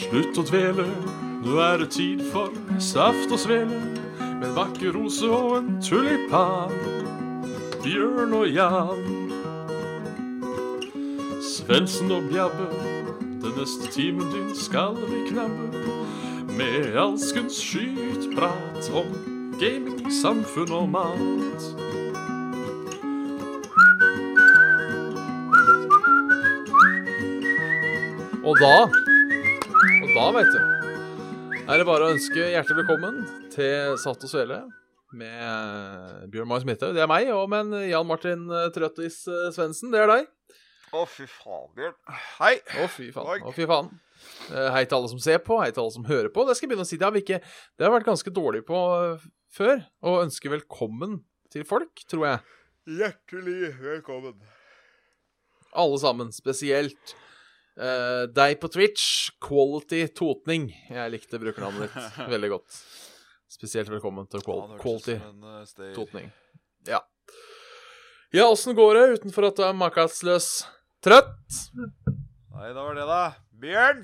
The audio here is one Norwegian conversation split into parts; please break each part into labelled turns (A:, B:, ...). A: Slutt å dvele, nå er det tid for saft og svele. Med en vakker rose og en tulipan. Bjørn og Jan. Svendsen og Bjabbe, den neste timen din skal vi knabbe. Med alskens skytprat om gaming, samfunn og mat.
B: Og da Og da, vet du, er det bare å ønske hjertelig velkommen til Satt og Svele med Bjørn Marius Midthaug. Det er meg, og med en Jan Martin eh, Trøttis eh, Svendsen. Det er deg.
C: Å, fy faen, Bjørn. Hei.
B: Å, fy faen. Å, fy faen. Eh, Hei til alle som ser på, hei til alle som hører på. Det skal jeg begynne å si, det har vi ikke Det har jeg vært ganske dårlig på eh, før. Å ønske velkommen til folk, tror jeg.
C: Hjertelig velkommen.
B: Alle sammen, spesielt eh, deg på Twitch, Quality Totning. Jeg likte brukernavnet ditt veldig godt. Spesielt velkommen til qual Quality
C: eh,
B: Totning. Ja. Ja, åssen går det utenfor at du er makkasløs trøtt?
C: Nei, det var det, da. Bjørn!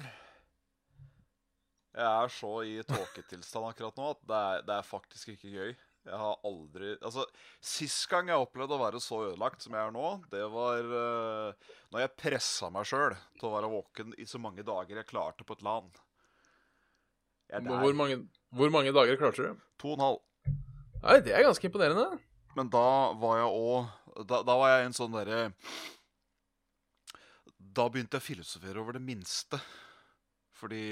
C: Jeg er så i tåketilstand akkurat nå at det er, det er faktisk ikke gøy. Jeg har aldri Altså, sist gang jeg opplevde å være så ødelagt som jeg er nå, det var uh, når jeg pressa meg sjøl til å være våken i så mange dager jeg klarte på et LAN. Jeg er der.
B: Hvor mange, hvor mange dager klarte du?
C: To og en halv.
B: Nei, det er ganske imponerende.
C: Men da var jeg òg da, da var jeg i en sånn derre Da begynte jeg å filosofere over det minste. Fordi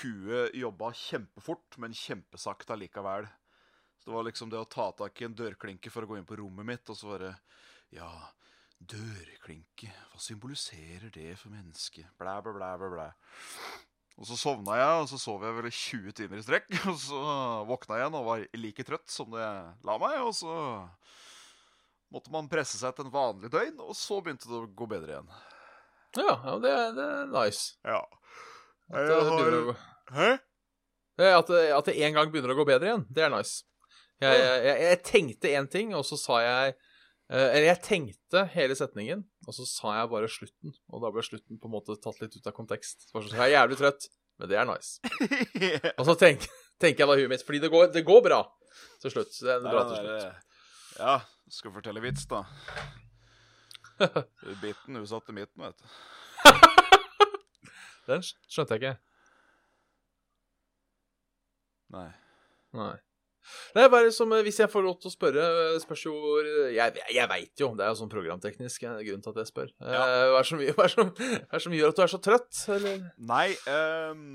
C: huet jobba kjempefort, men kjempesakte likevel. Så det var liksom det å ta tak i en dørklinke for å gå inn på rommet mitt, og så bare Ja, dørklinke, hva symboliserer det for mennesket? Blæ, blæ, blæ, blæ, blæ. Og så sovna jeg, og så sov jeg vel i 20 timer i strekk. Og så våkna jeg igjen og var like trøtt som det la meg. Og så måtte man presse seg til en vanlig døgn, og så begynte det å gå bedre igjen.
B: Ja, ja det, er, det er nice.
C: Ja.
B: At det, begynner å gå,
C: Hæ?
B: Eh, at, det, at det en gang begynner å gå bedre igjen. Det er nice. Jeg, jeg, jeg, jeg tenkte én ting, og så sa jeg eh, Eller jeg tenkte hele setningen, og så sa jeg bare slutten. Og da ble slutten på en måte tatt litt ut av kontekst. Så var det sånn, Jeg er jævlig trøtt, men det er nice. Og så tenk, tenker jeg da i huet mitt, fordi det går, det går bra til slutt. Det er
C: Det
B: bra
C: er
B: til
C: den
B: slutt.
C: der, ja, skal fortelle vits, da. Biten hun satt i midten, vet du.
B: Den skj- skjønte jeg ikke.
C: Nei.
B: Nei. Det er bare som eh, Hvis jeg får lov til å spørre eh, spørs jo hvor eh, Jeg, jeg veit jo, det er jo sånn programteknisk eh, grunn til at jeg spør. Eh, Hva er det som, hva er det som, hva er det som gjør at du er så trøtt? Eller?
C: Nei ehm,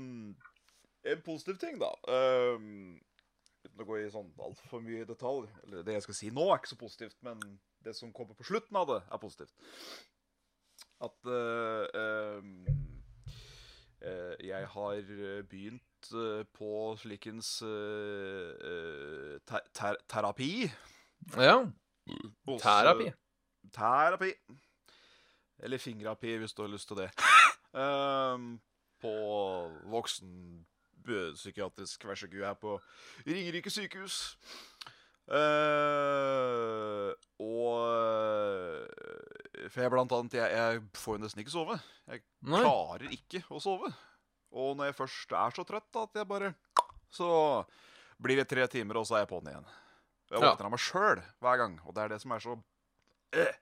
C: En positiv ting, da. ehm, uten å gå i sånn altfor mye detalj. Eller det jeg skal si nå, er ikke så positivt, men det som kommer på slutten av det, er positivt. At eh, ehm, eh, jeg har eh, begynt eh, på slikens eh, eh, ter ter terapi.
B: Ja.
C: Hos,
B: Terapi.
C: eh, Terapi. Eller fingerapi, hvis du har lyst til det. Ehm, på voksen bø- psykiatrisk vær så god her på Ringerike sykehus. Ehm, Eh, og eh, For jeg blant annet Jeg, jeg får jo nesten ikke sove. Jeg
B: Nei.
C: klarer ikke å sove. Og når jeg først er så trøtt at jeg bare Så blir det tre timer, og så er jeg på'n igjen. Jeg
B: Ja.
C: våkner av meg sjøl hver gang, og det er det som er så øh.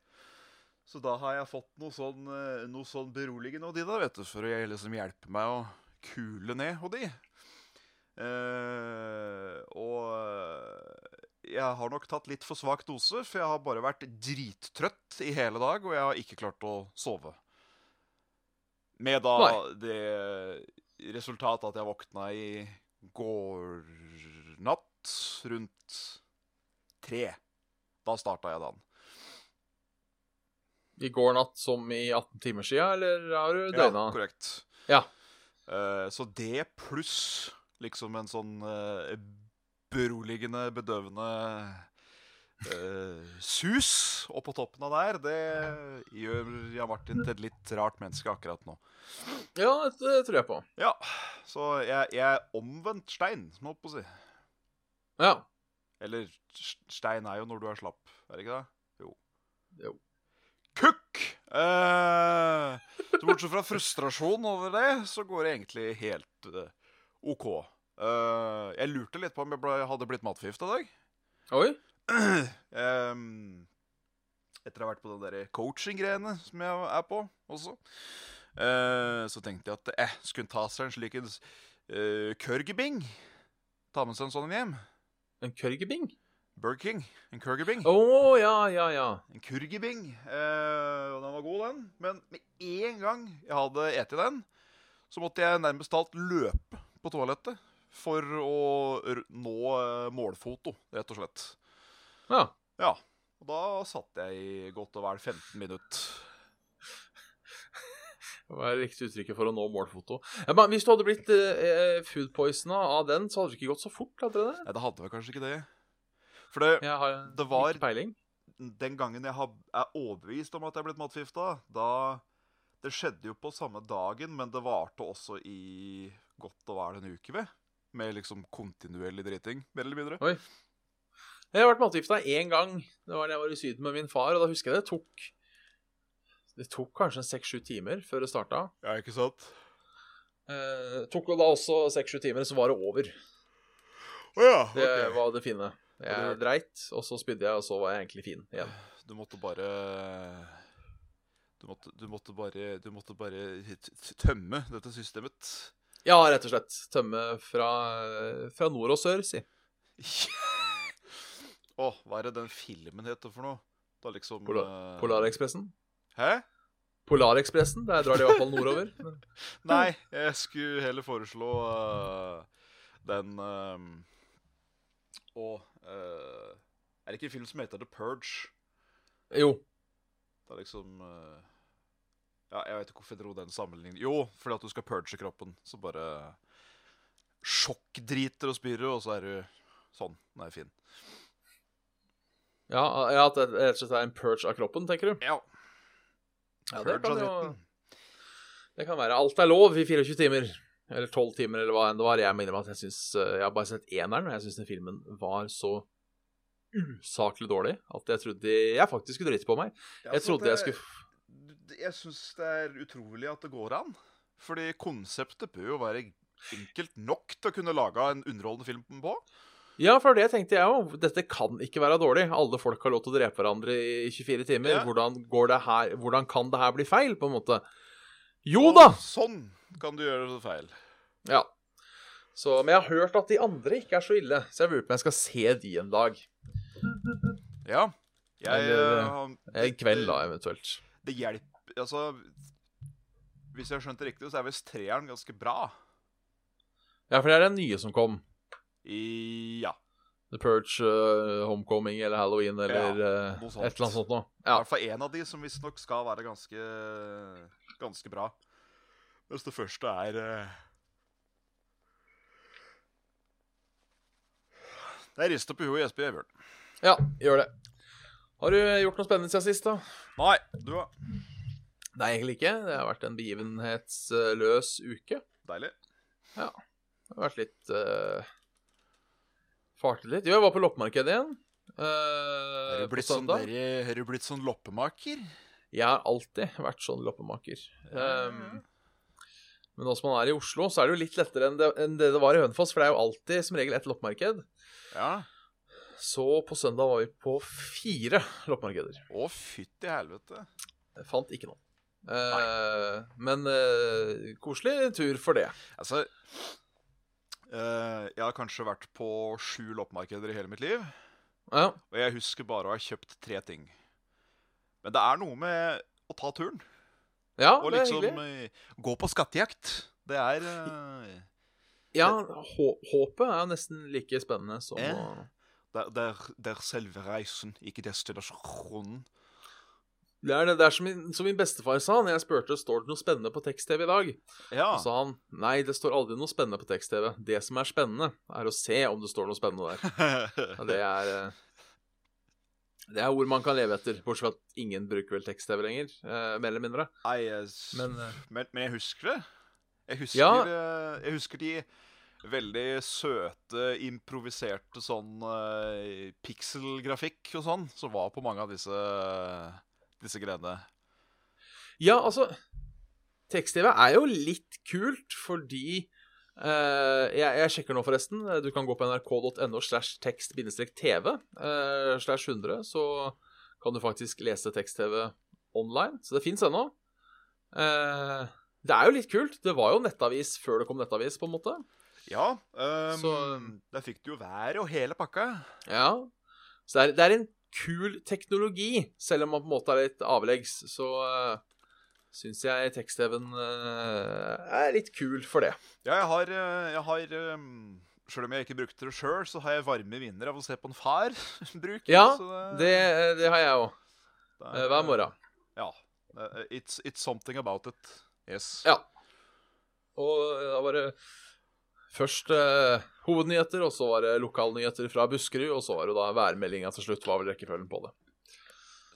C: Så da har jeg fått noe sånn, eh, noe sånn beroligende og de, da, vet du, for å liksom hjelpe meg å kule ned og de. Eh, og jeg har nok tatt litt for svak dose, for jeg har bare vært drittrøtt i hele dag, og jeg har ikke klart å sove. Med da
B: Nei.
C: det resultatet at jeg våkna i går natt rundt tre. Da starta jeg dagen.
B: I går natt som i 18 timer sia, eller har du døgna?
C: Ja, korrekt.
B: Ja.
C: Eh, så det pluss liksom en sånn eh, beroligende, bedøvende eh, sus oppå toppen av der, det gjør Jan Martin til et litt rart menneske akkurat nå.
B: ja, det tror jeg på.
C: Ja, så jeg, jeg er omvendt stein, må jeg på å si.
B: Ja.
C: Eller s- stein er jo når du er slapp, er det ikke det? Jo.
B: Jo.
C: Kukk Eh, så bortsett fra frustrasjon over det, så går det egentlig helt eh, OK. Eh, jeg lurte litt på om jeg ble, hadde blitt matforgifta i dag.
B: Oi.
C: Em, etter å ha vært på den der coaching-greiene som jeg er på også, eh, så tenkte jeg at eh, skulle en ta seg en slik en eh, kørgebing. Ta med seg en sånn en hjem.
B: En kørgebing?
C: Burger King. En kørgebing.
B: Å ja, ja, ja.
C: En kurgebing. Eh, og den var god, den. Men med en gang jeg hadde eti den, så måtte jeg nærmest talt løpe på toalettet for å r nå eh, målfoto, rett og slett.
B: ja.
C: Ja. Og da satt jeg i godt og vel 15 minutter.
B: Hva er det riktige uttrykket for å nå målfoto? Ja, men hvis du hadde blitt eh, food poisona av den, så hadde det ikke gått så fort? hadde det det?
C: Nei, det hadde vel kanskje ikke det. For det,
B: Jeg har
C: Det var-
B: ikke peiling.
C: den gangen jeg har, er overbevist om at jeg er blitt matforgifta, da Det skjedde jo på samme dagen, men det varte også i godt og vel en uke, ved. Med liksom kontinuerlig driting, mer eller mindre.
B: Jeg har vært matgifta én gang. Det var da jeg var i Syden med min far, og da husker jeg det tok Det tok kanskje seks-sju timer før det starta.
C: Ja, ikke sant?
B: Eh, tok jo da også seks-sju timer, så var det over.
C: Å ja.
B: Det
C: ok.
B: var det fine. Jeg
C: Og
B: dreit, og så spydde jeg, og så var jeg egentlig fin igjen.
C: Du måtte bare du måtte, du måtte bare Du måtte bare t- t- tømme dette systemet.
B: Ja, rett og slett. Tømme fra, fra nord og sør, si.
C: Å, hva er det den filmen heter for noe? Da liksom
B: Polar-
C: eh,
B: Polarekspressen.
C: Hæ?
B: Polarekspressen, der drar de i hvert fall nordover. Men
C: Nei, jeg skulle heller foreslå øh, den ehm, Og øh, Er det ikke en film som heter The Purge?
B: Jo.
C: Det er liksom øh, Ja, jeg vet ikke hvorfor jeg dro den sammenligningen. Jo, fordi at du skal purge kroppen. Så bare sjokkdriter og spyrer, og så er du sånn. Den er fin.
B: Ja, ja, at det rett og slett er en purge av kroppen, tenker du?
C: Ja.
B: Ja, det
C: purge
B: kan
C: av
B: jo
C: dritten.
B: Det kan være. Alt er lov i 24 timer. Eller 12 timer, eller hva enn det var. Jeg mener at jeg syns Jeg har bare sett eneren, og jeg syns den filmen var så usaklig dårlig at jeg trodde jeg faktisk skulle drite på meg.
C: Ja,
B: Jeg
C: så
B: trodde jeg
C: det-
B: skulle
C: Jeg syns det er utrolig at det går an. Fordi konseptet bør jo være enkelt nok til å kunne lage en underholdende film på.
B: Ja, for det tenkte jeg òg. Dette kan ikke være dårlig. Alle folk har lov til å drepe hverandre i 24 timer.
C: Ja.
B: Hvordan, går det her, hvordan kan det her bli feil, på en måte? Jo da!
C: Sånn kan du gjøre det feil.
B: Ja. Så, men jeg har hørt at de andre ikke er så ille, så jeg lurer på om jeg skal se de en dag.
C: Ja. Jeg
B: Eller-
C: eh, har-
B: En kveld, da, eventuelt.
C: Det hjelper Altså Hvis jeg har skjønt det riktig, så er visst treeren ganske bra.
B: Ja, for det er den nye som kom.
C: I, ja.
B: The Purge, eh, Homecoming eller Halloween eller eh,
C: noe
B: et
C: sånt.
B: eller annet sånt noe.
C: I
B: Ja.
C: hvert fall én av de som visstnok skal være ganske ganske bra. Mens det første er eh, Det er rister på huet i Espen Gjevjørn.
B: ja, gjør det. Har du gjort noe spennende siden sist, da?
C: Nei, du da?
B: Nei, egentlig ikke. Det har vært en begivenhetsløs uke.
C: Deilig.
B: Det har vært litt uh, Fartet litt. Jo, jeg var på loppemarkedet igjen. eh,
C: Har du
B: på
C: blitt sånn,
B: søndag.
C: der- har du blitt sånn loppemaker?
B: Jeg har alltid vært sånn loppemaker.
C: Ja.
B: Um, men nå som man er i Oslo, så er det jo litt lettere enn det, enn det det var i Hønefoss. For det er jo alltid som regel ett loppemarked.
C: Ja.
B: Så på søndag var vi på fire loppemarkeder.
C: Å, fytti helvete.
B: Jeg fant ikke noe. Eh, men eh, koselig tur for det.
C: Altså eh, Jeg har kanskje vært på sju loppemarkeder i hele mitt liv,
B: Ja,
C: og jeg husker bare å ha kjøpt tre ting. Men det er noe med å ta turen
B: ja
C: og
B: det er
C: liksom
B: hyggelig.
C: eh, gå på skattejakt. Det er eh,
B: Ja, hå håpet er jo nesten like spennende som
C: Ja.
B: å
C: det, det, er, det er selve reisen, ikke destinasjonen.
B: Det er, det, det er som, min, som min bestefar sa når jeg spurte står det noe spennende på tekst-TV i dag.
C: Ja.
B: Så sa han nei, det står aldri noe spennende på tekst-TV. Det som er spennende, er å se om det står noe spennende der. Ja, det er eh, Det er ord man kan leve etter, bortsett fra at ingen bruker vel tekst-TV lenger. eh, mer eller mindre.
C: Nei, jeg s-
B: Men, eh,
C: men, men jeg husker det. Jeg husker,
B: Ja.
C: eh, jeg husker de veldig søte, improviserte sånn eh, pikselgrafikk og sånn, som var på mange av disse, disse greiene.
B: Ja, altså Tekst-TV er jo litt kult fordi eh, jeg, jeg sjekker nå, forresten. eh, Du kan gå på nrk.no slash tekst-tv eh, slash 100, så kan du faktisk lese tekst-TV online. Så det fins ennå. Eh, det er jo litt kult. Det var jo nettavis før det kom nettavis, på en måte.
C: Ja, ehm,
B: Så-
C: der fikk du jo været og hele pakka.
B: Ja. Så det er, det er en kul teknologi, selv om man på en måte er litt avleggs. Så uh, syns jeg tekst-TV-en eh, er litt kul for det.
C: Ja, jeg har, eh, jeg har ehm, Selv om jeg ikke brukte det sjøl, så har jeg varme minner av å se på en far bruke
B: Ja,
C: så
B: Det, eh, det har jeg òg.
C: det er-
B: Hver morgen.
C: Ja. Eh, It's, it's something about it. Yes.
B: Ja. Og eh, da var det først eh, hovednyheter, og så var det lokalnyheter fra Buskerud, og så var det da værmeldinga til slutt, var vel rekkefølgen på det.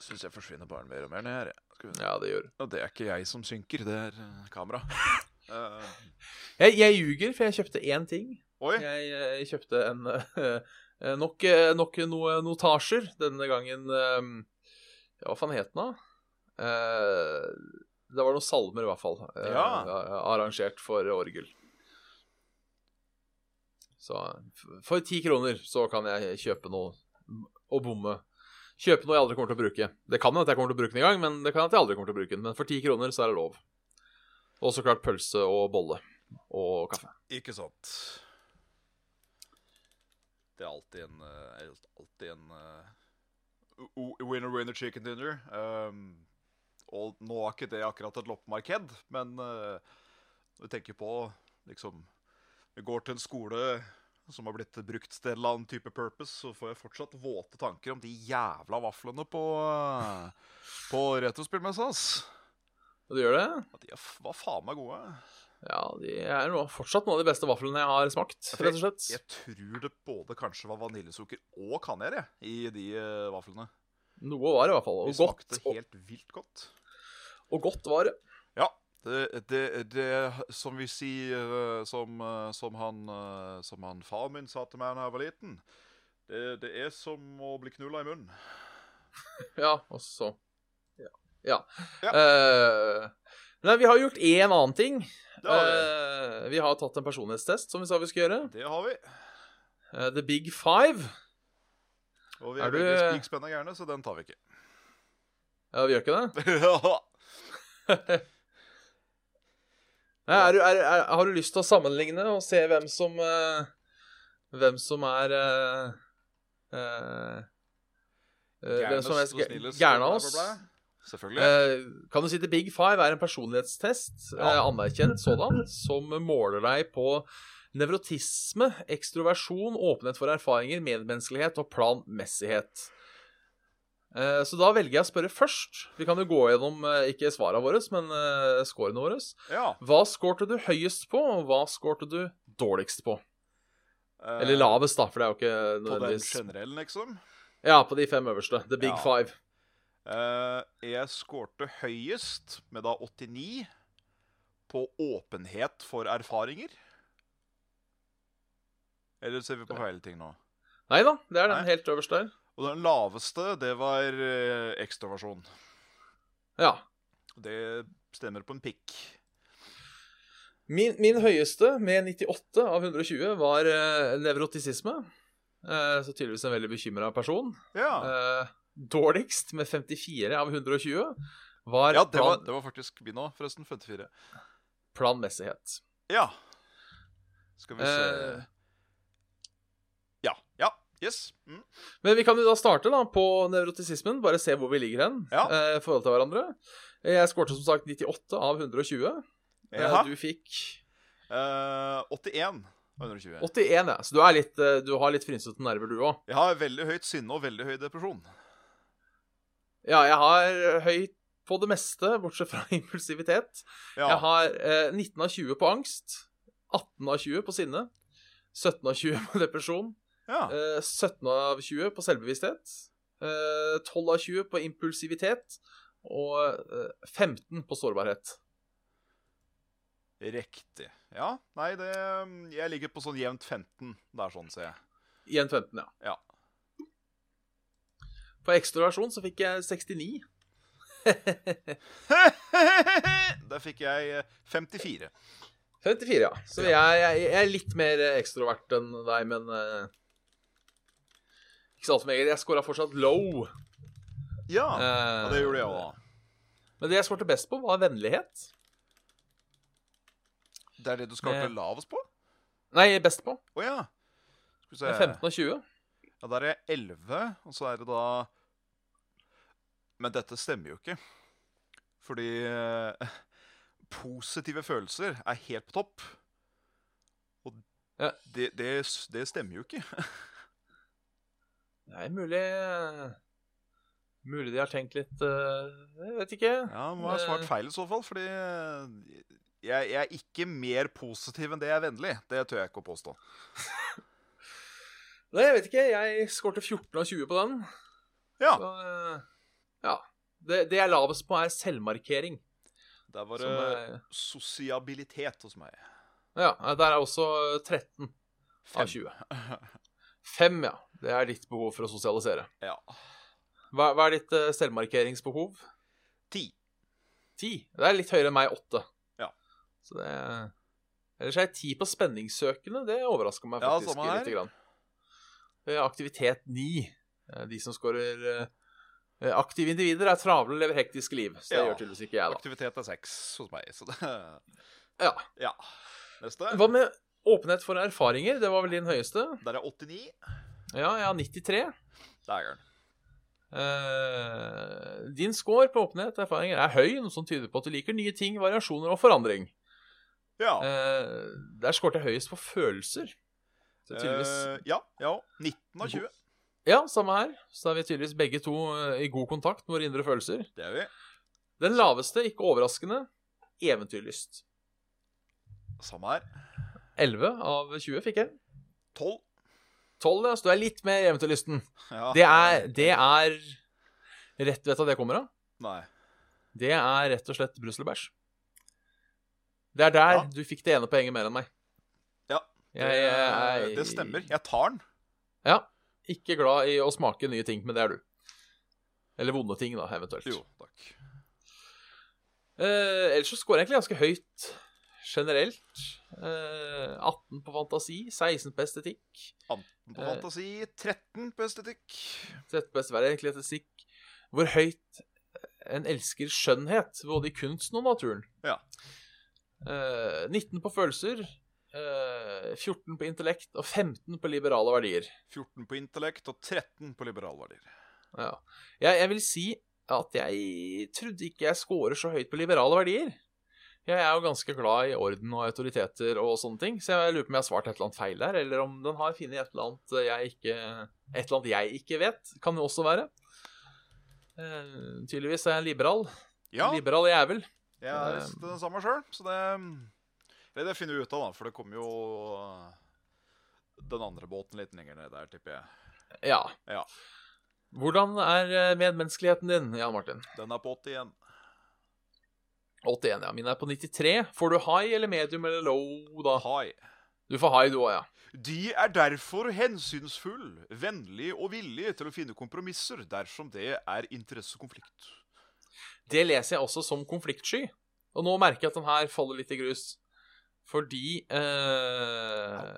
C: Syns jeg forsvinner bare mer og mer ned her. jeg. Skal vi...
B: Ja, det gjør
C: Og det er ikke jeg som synker, det er eh, kamera. Eh,
B: Jeg, jeg ljuger, for jeg kjøpte én ting.
C: oi.
B: Jeg, eh, kjøpte en eh, nok, eh, nok noe notasjer denne gangen eh, Ja, hva faen het den, da? Eh, det var noen salmer, i hvert fall. eh,
C: Ja.
B: a- Arrangert for orgel. Så f- for ti kroner så kan jeg kjøpe noe og bomme. Kjøpe noe jeg aldri kommer til å bruke. Det kan hende at jeg kommer til å bruke den i gang, men det kan hende at jeg aldri kommer til å bruke den. Men for ti kroner så er det lov. Og så klart pølse og bolle og kaffe.
C: Ikke sant. Det er alltid en eh, er Alltid en eh, o- o- Winner, winner, chicken dinner. Um, og nå er ikke det akkurat et loppemarked, men eh, når vi tenker på liksom Vi går til en skole som har blitt brukt til en eller annen type purpose, så får jeg fortsatt våte tanker om de jævla vaflene på, eh, på retrospillmessa, ass.
B: Og du gjør det?
C: Ja, de er f- var faen meg gode.
B: Ja, de er noe, fortsatt noen av de beste vaflene jeg har smakt,
C: Ja, for
B: rett og slett.
C: Jeg tror det både kanskje var vaniljesukker og kanel jeg, i de eh, vaflene.
B: Noe var det i hvert fall.
C: De
B: Og godt,
C: smakte
B: og,
C: helt vilt godt.
B: og godt var det.
C: Ja. Det, det, det som vi sier eh, som, eh, som, han, eh, som han far min sa til meg da jeg var liten Det, det er som å bli knulla i munnen.
B: Ja, og så Ja. ja.
C: Ja.
B: Eh, nei, vi har gjort én annen ting.
C: Det har vi.
B: Eh, vi har tatt en personlighetstest, som vi sa vi skulle gjøre.
C: Det har vi.
B: Eh, The Big Five.
C: Og vi
B: Er
C: er,
B: du- eh,
C: veldig spikspenna gærne, så den tar vi ikke.
B: Ja, vi gjør ikke det?
C: ja.
B: Nei, er, du- er, er, har du lyst til å sammenligne og se hvem som eh, Hvem som er uh, eh, Hvem som
C: Gærnest og
B: er
C: snillest og
B: gæren av
C: bla,
B: oss.
C: bla, bla. Selvfølgelig.
B: Eh, kan du si The Big Five er en personlighetstest, eh, anerkjent sådan, som måler deg på nevrotisme, ekstroversjon, åpenhet for erfaringer, medmenneskelighet og planmessighet. Eh, Så da velger jeg å spørre først. Vi kan jo gå gjennom eh, ikke svarene våre, men eh, scorene våre.
C: ja.
B: Hva skårte du høyest på, og hva skårte du dårligst på?
C: eh,
B: Eller lavest, da, for det er jo ikke
C: På den
B: nødvendigvis
C: generelle, liksom.
B: Ja, på de fem øverste. The Big
C: Ja.
B: Five.
C: Eh, jeg skårte høyest, med da 89, på åpenhet for erfaringer. Eller ser vi på feil ting nå?
B: Nei da, det er den
C: Nei.
B: helt øverst der.
C: Og den laveste, det var eh, ekstroversjon.
B: Ja.
C: Det stemmer på en pikk.
B: Min, min høyeste, med 98 av 120, var eh, nevrotisisme. Eh, så tydeligvis en veldig bekymra person.
C: Ja,
B: Eh, dårligst, med 54 av 120, var,
C: ja det, var,
B: plan,
C: det var faktisk min òg, forresten. 54.
B: planmessighet.
C: Ja. Skal vi
B: Eh.
C: se Ja. Ja. Yes. Mm.
B: Men vi kan jo da starte da på nevrotisismen, bare se hvor vi ligger hen
C: Ja.
B: eh, i forhold til hverandre. Eh, Jeg skårte som sagt 98 av 120. Eh,
C: Jaha.
B: Du fikk
C: Eh, 81 av 120.
B: 81, ja. så du, er litt, eh, du har litt frynsete nerver, du òg.
C: Jeg har veldig høyt sinne og veldig høy depresjon.
B: Ja, jeg har høyt på det meste, bortsett fra impulsivitet.
C: Ja.
B: Jeg har eh, 19 av 20 på angst, 18 av 20 på sinne, 17 av 20 på depresjon,
C: ja.
B: eh, 17 av 20 på selvbevissthet, eh, 12 av 20 på impulsivitet og eh, 15 på sårbarhet.
C: Eh, Riktig. Ja, nei, det Jeg ligger på sånn jevnt 15. Det er sånn, ser jeg.
B: Igjen 15, ja.
C: Ja.
B: På ekstroversjon så fikk jeg 69.
C: Der fikk jeg eh, 54.
B: 54, ja. Så jeg, jeg, jeg er litt mer eh, ekstrovert enn deg, men eh, Ikke så altfor meget. Jeg scora fortsatt low.
C: Ja,
B: Eh,
C: og det gjorde jeg òg.
B: Men det jeg skårte best på, var vennlighet.
C: Det er det du skåret
B: det-
C: lavest på?
B: Nei, best på.
C: Å ja. Skal vi
B: Med
C: se
B: 15 og 20.
C: Ja, der er jeg 11, og så er det da Men dette stemmer jo ikke. Fordi eh, positive følelser er helt på topp. Og
B: Ja.
C: det, det, s- det stemmer jo ikke.
B: Det er mulig eh, Mulig de har tenkt litt eh, Jeg vet ikke.
C: Ja, må ha svart
B: Det-
C: feil i så fall, fordi eh, jeg, jeg er ikke mer positiv enn det jeg er vennlig. Det tør jeg ikke å påstå.
B: Nei, jeg vet ikke. Jeg skårte 14 av 20 på den.
C: Ja,
B: Så, eh, ja. Det, det jeg er lavest på, er selvmarkering.
C: der var
B: Som
C: det
B: er,
C: sosiabilitet hos meg.
B: ja, der er også 13 av 20. 5, ja. Det er ditt behov for å sosialisere.
C: Ja.
B: Hva, hva er ditt eh, selvmarkeringsbehov?
C: Ti.
B: 10. Det er litt høyere enn meg, 8.
C: Ja.
B: Så det Ellers er jeg 10 på spenningssøkende. Det overrasker meg
C: Ja,
B: faktisk
C: samme her.
B: lite grann. Eh, Aktivitet 9. Eh, De som scorer eh, Aktive individer er travle og lever hektiske liv. Så det
C: Ja.
B: gjør tydeligvis ikke jeg, da.
C: Aktivitet er seks hos meg, så det
B: Ja.
C: ja. Neste.
B: Hva med åpenhet for erfaringer? Det var vel din høyeste?
C: Der er 89.
B: Ja, jeg har 93.
C: Der er den.
B: Eh, din score på åpenhet og erfaringer er høy, noe som tyder på at du liker nye ting, variasjoner og forandring.
C: Ja.
B: Eh, der skårte jeg høyest på følelser. Så tydeligvis
C: Eh, ja, ja. 19 av 20.
B: Ja, samme her. Så er vi tydeligvis begge to eh, i god kontakt med våre indre følelser.
C: Det er vi.
B: Den laveste, ikke overraskende, eventyrlyst.
C: Samme her.
B: 11 av 20 fikk jeg.
C: 12.
B: 12, ja, så du er litt mer eventyrlysten.
C: Ja.
B: Det er, det er rett Vet du hva det kommer av?
C: Nei.
B: Det er rett og slett Brusselbæsj. Det er der
C: Ja.
B: du fikk det ene poenget mer enn meg.
C: Ja, Det,
B: Jeg, eh, jeg-
C: det stemmer. Jeg tar den.
B: Ja. Ikke glad i å smake nye ting, men det er du. Eller vonde ting, da, eventuelt.
C: Jo, takk.
B: Eh, ellers så scorer jeg egentlig ganske høyt generelt. Eh, 18 på fantasi, 16 på estetikk,
C: På
B: Eh.
C: fantasi 13 på estetikk.
B: 13 på estverre, egentlig estetikk. Hvor høyt en elsker skjønnhet, både i kunsten og naturen.
C: Ja.
B: Eh, 19 på følelser, eh, 14 på intellekt og 15 på liberale verdier.
C: 14 på intellekt og 13 på liberalverdier.
B: Ja. Jeg, jeg vil si at jeg trodde ikke jeg scorer så høyt på liberale verdier. Jeg er jo ganske glad i orden og autoriteter og sånne ting, så jeg lurer på om jeg har svart et eller annet feil der, eller om den har funnet et eller annet jeg ikke Et eller annet jeg ikke vet, kan jo også være. Eh, tydeligvis er jeg en liberal.
C: Ja,
B: En liberal jævel.
C: jeg er visst den samme sjøl, så det Eller det finner vi ut av, da, for det kommer jo den andre båten litt lenger ned der, tipper jeg.
B: Ja.
C: Ja.
B: Hvordan er eh, medmenneskeligheten din, Jan Martin?
C: Den er på 80 igjen.
B: 81, ja. Min er på 93. Får du high eller medium eller low, da?
C: Hai.
B: Du får high, du òg, ja.
C: De er derfor hensynsfull, vennlig og villig til å finne kompromisser dersom det er interessekonflikt.
B: Det leser jeg også som konfliktsky. Og nå merker jeg at den her faller litt i grus. Fordi eh,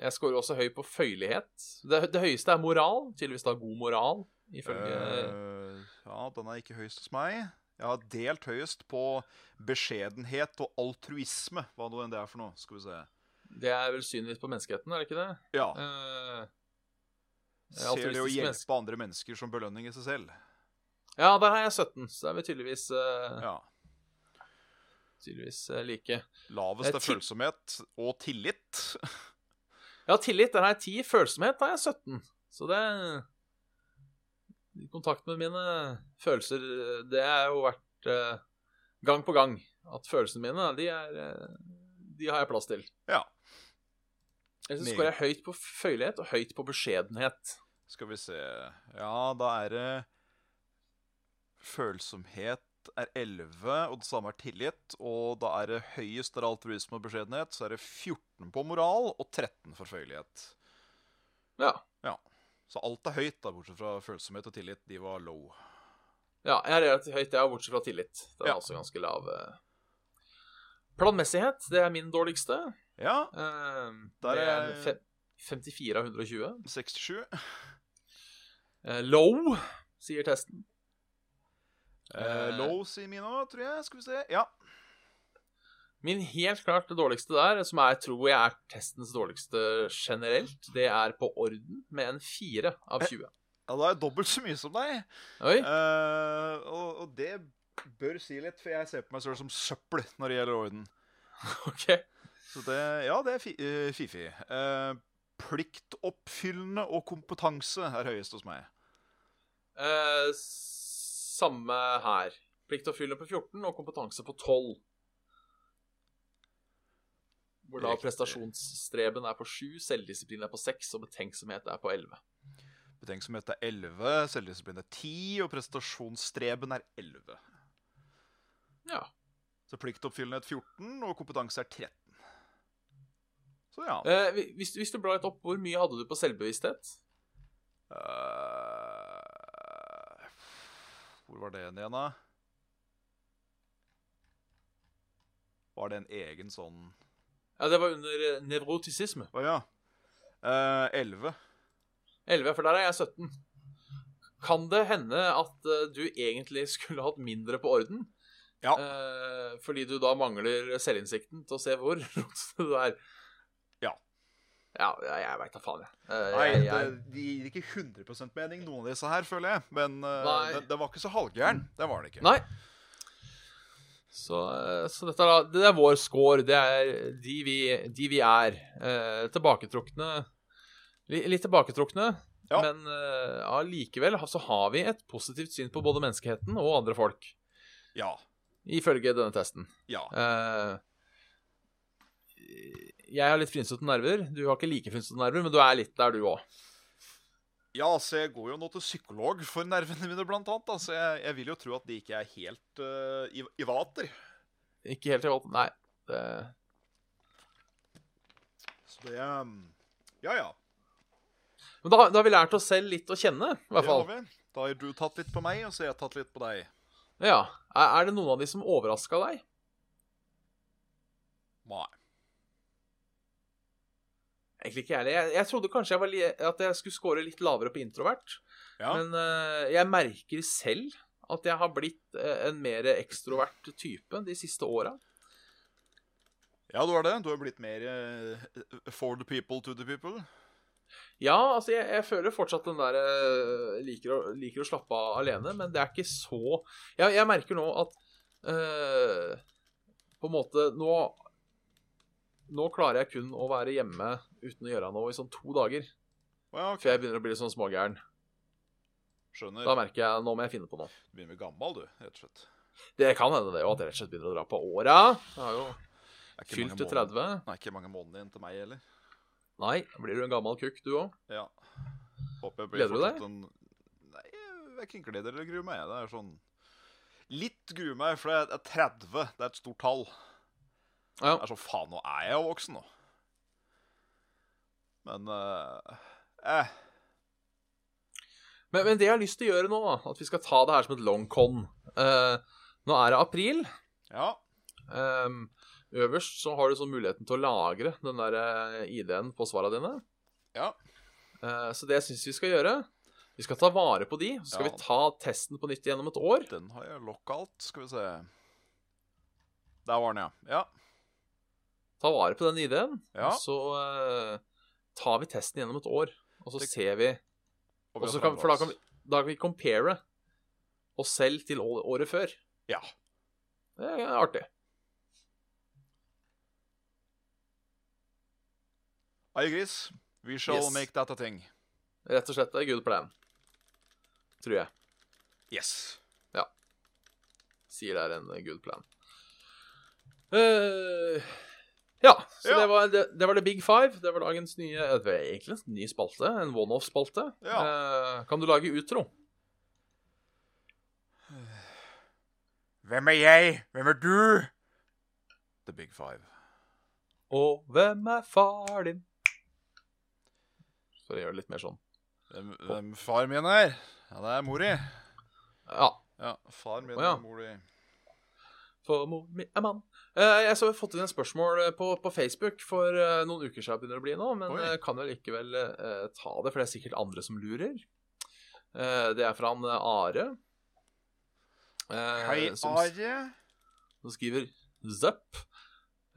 B: Jeg scorer også høy på føyelighet. Det, det høyeste er moral. Tydeligvis da god moral, ifølge
C: Eh, ja, den er ikke høyest hos meg. Jeg har delt høyest på beskjedenhet og altruisme, hva nå enn det er for noe. Skal vi se.
B: Det er vel synlig på menneskeheten, er det ikke det?
C: Ja.
B: Eh,
C: Ser Eh, altså, det å
B: altruistisk
C: hjelpe
B: menneske.
C: andre mennesker som belønning i seg selv.
B: ja, der har jeg 17, så er vi tydeligvis, eh,
C: Ja.
B: tydeligvis eh, like.
C: Lavest
B: Eh,
C: er
B: til-
C: følsomhet og tillit.
B: Ja, tillit, der har jeg 10. Følsomhet, der har jeg 17. Så det I kontakt med mine følelser Det er jo vært eh, gang på gang at følelsene mine, de er eh, De har jeg plass til.
C: Ja.
B: Ellers så
C: Meget.
B: skårer jeg høyt på føyelighet og høyt på beskjedenhet.
C: Skal vi se Ja, da er det Følsomhet er 11, og det samme er tillit. Og da er det høyest er altruisme og beskjedenhet. Så er det 14 på moral og 13 for føyelighet.
B: Ja.
C: Så alt er høyt, da, bortsett fra følsomhet og tillit. De var low.
B: Ja, jeg er relativt høyt, jeg, bortsett fra tillit. Den er
C: Ja.
B: også ganske lav. eh. Planmessighet, det er min dårligste.
C: Ja,
B: Eh,
C: Der
B: det er
C: er
B: en fe- 54 av 120.
C: 67.
B: Eh, low, sier testen.
C: Eh, low sier min òg, tror jeg. Skal vi se. Ja.
B: Min helt klart det dårligste der, som jeg tror jeg er testens dårligste generelt, det er på orden med en 4 av 20.
C: ja, da er jeg dobbelt så mye som deg.
B: Oi,
C: Eh, og, og det bør si litt, for jeg ser på meg selv som søppel når det gjelder orden.
B: ok.
C: Så det, ja, det er fi, eh, fifi. Eh, pliktoppfyllende og kompetanse er høyest hos meg.
B: Eh, s- samme her. Plikt til å fylle på 14 og kompetanse på 12. Hvor da
C: Riktig.
B: prestasjonsstreben er på 7, selvdisiplin er på 6 og betenksomhet er på 11.
C: Betenksomhet er 11, selvdisiplin er 10, og prestasjonsstreben er 11.
B: Ja.
C: Så pliktoppfyllenhet 14, og kompetanse er 13. Så ja.
B: Eh, hvi- hvis, hvis du blar litt opp, hvor mye hadde du på selvbevissthet?
C: Eh, hvor var det igjen, da? Var det en egen sånn
B: Ja, det var under eh, nevrotisisme.
C: Å ja. Eh, 11.
B: 11, for der er jeg 17. Kan det hende at eh, du egentlig skulle hatt mindre på orden?
C: Ja.
B: Eh, fordi du da mangler selvinnsikten til å se hvor rotete du er?
C: Ja.
B: Ja, jeg, jeg veit da faen, jeg. Eh,
C: Nei,
B: jeg,
C: det,
B: jeg
C: de gir ikke 100 mening, noen av disse her, føler jeg. Men eh,
B: Nei.
C: den, den var ikke så halvgæren. Det var det ikke.
B: Nei. Så, eh, så dette er da Det er vår score. Det er de vi, de vi er. Eh, tilbaketrukne li- Litt tilbaketrukne,
C: Ja.
B: men eh, allikevel så har vi et positivt syn på både menneskeheten og andre folk.
C: Ja.
B: Ifølge denne testen.
C: Ja.
B: Eh, jeg har litt frynsete nerver. Du har ikke like frynsete nerver, men du er litt der, du òg.
C: Ja, altså, jeg går jo nå til psykolog for nervene mine, blant annet. da, Så jeg, jeg vil jo tro at de ikke er helt eh, i, i vater.
B: Ikke helt i valg Nei. Det,
C: Så det um, Ja, ja.
B: men da, da har vi lært oss selv litt å kjenne, i hvert
C: Det har
B: fall.
C: vi. Da har du tatt litt på meg, og så har jeg tatt litt på deg.
B: Ja. Er, er det noen av de som overraska deg?
C: Nei.
B: Egentlig ikke jeg heller. Jeg, jeg trodde kanskje jeg var li at jeg skulle score litt lavere på introvert,
C: Ja.
B: men eh, jeg merker selv at jeg har blitt eh, en mer ekstrovert type de siste åra.
C: ja, du har det. Du har blitt mer eh, for the people to the people.
B: Ja, altså jeg, jeg føler fortsatt den der eh, liker, å, liker å slappe av alene, men det er ikke så Jeg, jeg merker nå at eh, På en måte nå, nå klarer jeg kun å være hjemme uten å gjøre noe i sånn to dager.
C: Å ja, ok.
B: For jeg begynner å bli litt sånn smågæren.
C: Skjønner.
B: Da merker jeg nå må jeg finne på noe.
C: Du begynner å bli gammel, du, rett og slett.
B: Det kan hende det jo at jeg rett og slett begynner å dra på åra. Jeg har jo
C: Det er ikke mange
B: fylt til
C: måneder-
B: 30.
C: Nei, ikke mange månedene igjen til meg heller.
B: Nei, da blir du en gammel kukk, du òg.
C: Ja. Håper jeg blir
B: Gleder du deg?
C: fortsatt En... Nei, jeg verken gleder eller gruer meg. Det er sånn Litt gruer meg, for det er 30. Det er et stort tall.
B: Ja.
C: Det er sånn Faen, nå er jeg jo voksen, nå. Men eh, eh,
B: Men, men det jeg har lyst til å gjøre nå, da, at vi skal ta det her som et long con Eh, Nå er det april.
C: Ja.
B: Ehm, øverst så har du sånn muligheten til å lagre den der eh, ID-en på svarene dine.
C: Ja.
B: Eh, så det syns vi skal gjøre. Vi skal ta vare på de, så skal
C: Ja.
B: vi ta testen på nytt gjennom et år.
C: Den har jeg lockout. Skal vi se Der var den, ja. Ja.
B: Ta vare på den ID-en,
C: ja.
B: og så eh, tar vi testen gjennom et år. Og så
C: Det-
B: ser vi
C: vi
B: og så
C: har
B: kan, For da
C: forandret
B: kan
C: oss.
B: vi, da kan vi compare oss selv til å- året før.
C: Ja.
B: Det er artig.
C: Hei, Gris. We shall
B: Yes.
C: make that a thing.
B: Rett og slett. Det er good plan. Tror jeg.
C: Yes.
B: sier det er en good plan. Eh, ja, så
C: Ja.
B: Det, var, det, det var The Big Five. Det var dagens nye eh, det var Egentlig en ny spalte. En one-off-spalte. Eh, kan du lage utro?
C: Hvem er jeg? Hvem er du? The Big Five.
B: Og hvem er far din? For å gjøre det litt mer sånn.
C: Hvem, hvem far min er? Ja, det er mor i.
B: Ja.
C: Ja, far min
B: Å, ja.
C: og mor di.
B: For mor mi er mann. Eh, jeg så vi har fått inn et spørsmål eh, på, på Facebook for eh, noen uker siden, begynner det å bli nå, men
C: Oi.
B: eh, kan jo likevel eh, ta det, for det er sikkert andre som lurer. Eh, det er fra han eh, Are. eh,
C: Hei,
B: som,
C: Are.
B: som skriver Zup.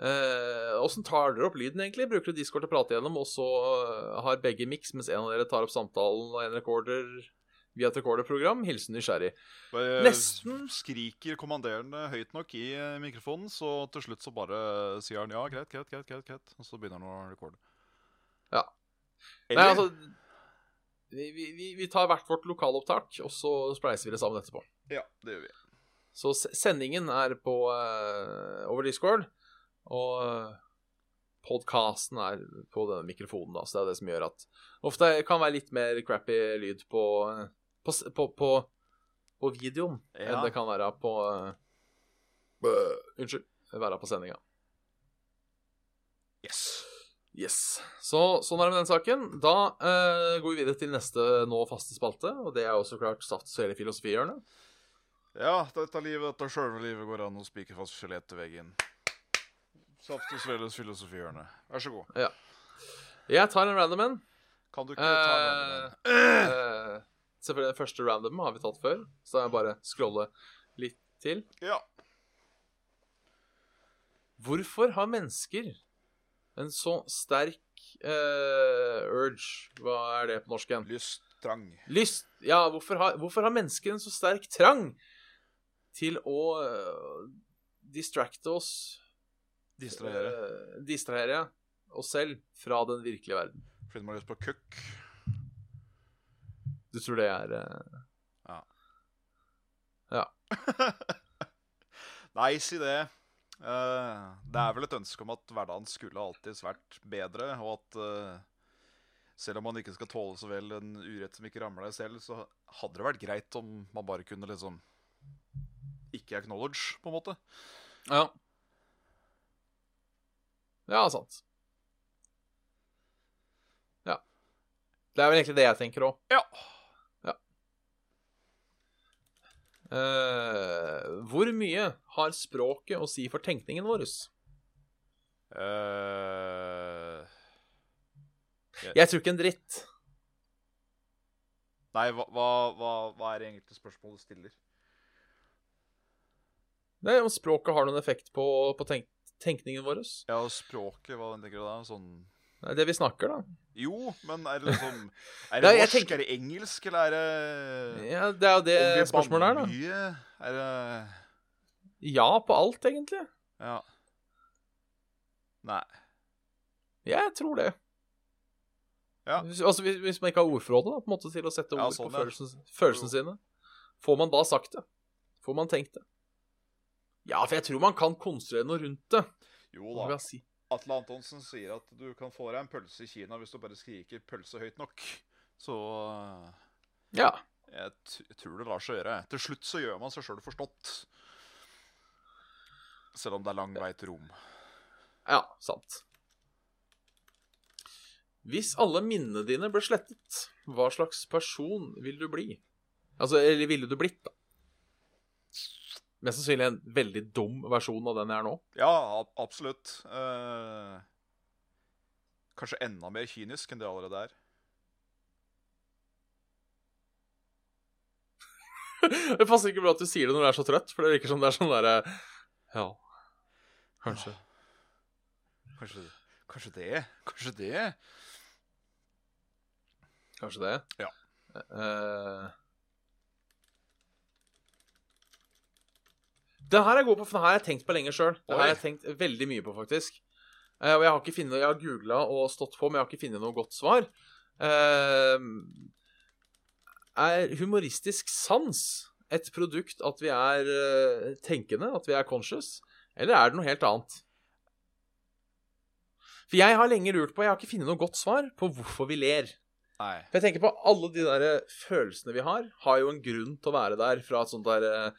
B: Eh, Åssen tar dere opp lyden, egentlig? Bruker du Discord til å prate gjennom, og så eh, har begge miks, mens en av dere tar opp samtalen og en recorder via et recorderprogram? Hilsen nysgjerrig.
C: Bare
B: Nesten.
C: skriker kommanderende høyt nok i eh, mikrofonen, så til slutt så bare sier han ja, greit, greit, greit, greit, greit. Og så begynner han å recorde.
B: Ja.
C: Eller,
B: Nei, altså vi, vi, vi- vi tar hvert vårt lokalopptak, og så spleiser vi det sammen etterpå.
C: Ja, det gjør vi.
B: Så se- sendingen er på eh, over Discord, og uh, podkasten er på denne mikrofonen, da, så det er det som gjør at ofte kan være litt mer crappy lyd på, eh, på, s- på, på, på videoen
C: Ja.
B: enn det kan være på eh, bø- Unnskyld. Være på sendinga.
C: Yes.
B: Yes. Så sånn er det med den saken. Da eh, går vi videre til neste nå faste spalte, og det er jo så klart Sats hele filosofihjørnet.
C: Ja, dette livet, dette sjølve livet går an å spike fast skjelett til veggen. Saft og sveles filosofihjørne. Vær så god.
B: Jeg tar en random en.
C: Kan du ikke ta den?
B: Eh, eh, selvfølgelig den første randomen har vi tatt før, så da er det bare å scrolle litt til.
C: Ja.
B: Hvorfor har mennesker en så sterk eh, urge Hva er det på norsk igjen?
C: Lyst, trang.
B: Lyst Ja, hvorfor har, hvorfor har mennesker en så sterk trang til å eh, distracte oss
C: Distrahere.
B: eh, distrahere oss selv fra den virkelige verden?
C: Fordi de har Eh, lyst på køkk.
B: Du tror det er eh,
C: Nei, si det. Eh, det er vel et ønske om at hverdagen skulle alltids vært bedre, og at eh, selv om man ikke skal tåle så vel en urett som ikke rammer deg selv, så hadde det vært greit om man bare kunne liksom ikke acknowledge, på en måte.
B: Ja. Ja, sant. Ja. Det er vel egentlig det jeg tenker òg.
C: Ja.
B: Eh, hvor mye har språket å si for tenkningen vår?
C: Eh,
B: Jeg tror ikke en dritt.
C: nei, hva, hva, hva, hva er egentlig spørsmålet du stiller?
B: Det er om språket har noen effekt på, på tenk tenkningen vår.
C: Ja, og språket, hva tenker du da? Sånn
B: Det er det vi snakker, da.
C: Jo, men er det liksom
B: Ja,
C: Er det
B: jeg
C: norsk?
B: tenker-
C: Er det engelsk, eller er det
B: Ja, det er jo det
C: Om vi
B: spørsmålet er,
C: banner
B: da.
C: Mye, er det
B: Ja på alt, egentlig.
C: Ja. Nei.
B: Jeg tror det.
C: Ja.
B: Hvis, altså, hvis, hvis man ikke har ordforrådet da, på en måte til å sette ord
C: Ja, sånn,
B: på
C: ja.
B: følelsen, følelsene sine, får man da sagt det? Får man tenkt det? Ja, for jeg tror man kan konstruere noe rundt det.
C: Jo
B: hva skal
C: da.
B: jeg Si.
C: Atle Antonsen sier at du kan få deg en pølse i Kina hvis du bare skriker 'pølse' høyt nok. Så øh,
B: Ja.
C: jeg, t jeg tror det lar seg gjøre. Til slutt så gjør man seg sjøl forstått. Selv om det er lang vei til rom.
B: ja, sant. Hvis alle minnene dine ble slettet, hva slags person vil du bli? Altså, eller ville du blitt, da? Mest sannsynlig en veldig dum versjon av den jeg er nå.
C: Ja, ab absolutt. Eh, kanskje enda mer kynisk enn det allerede er.
B: Det passer ikke bra at du sier det når du er så trøtt, for det virker som det er sånn derre Ja, kanskje.
C: Kanskje, kanskje det. Kanskje det.
B: Kanskje det?
C: Ja.
B: Eh, Den her er god på, for den her har jeg tenkt på lenge sjøl. Den
C: Oi.
B: her har jeg tenkt veldig mye på, faktisk. Eh, og jeg har ikke finnet, jeg har googla og stått på, men jeg har ikke funnet noe godt svar. Eh, er humoristisk sans et produkt at vi er eh, tenkende, at vi er conscious, eller er det noe helt annet? For jeg har lenge lurt på, jeg har ikke funnet noe godt svar på hvorfor vi ler.
C: Nei.
B: For jeg tenker på alle de der eh, følelsene vi har, har jo en grunn til å være der fra et sånt der eh,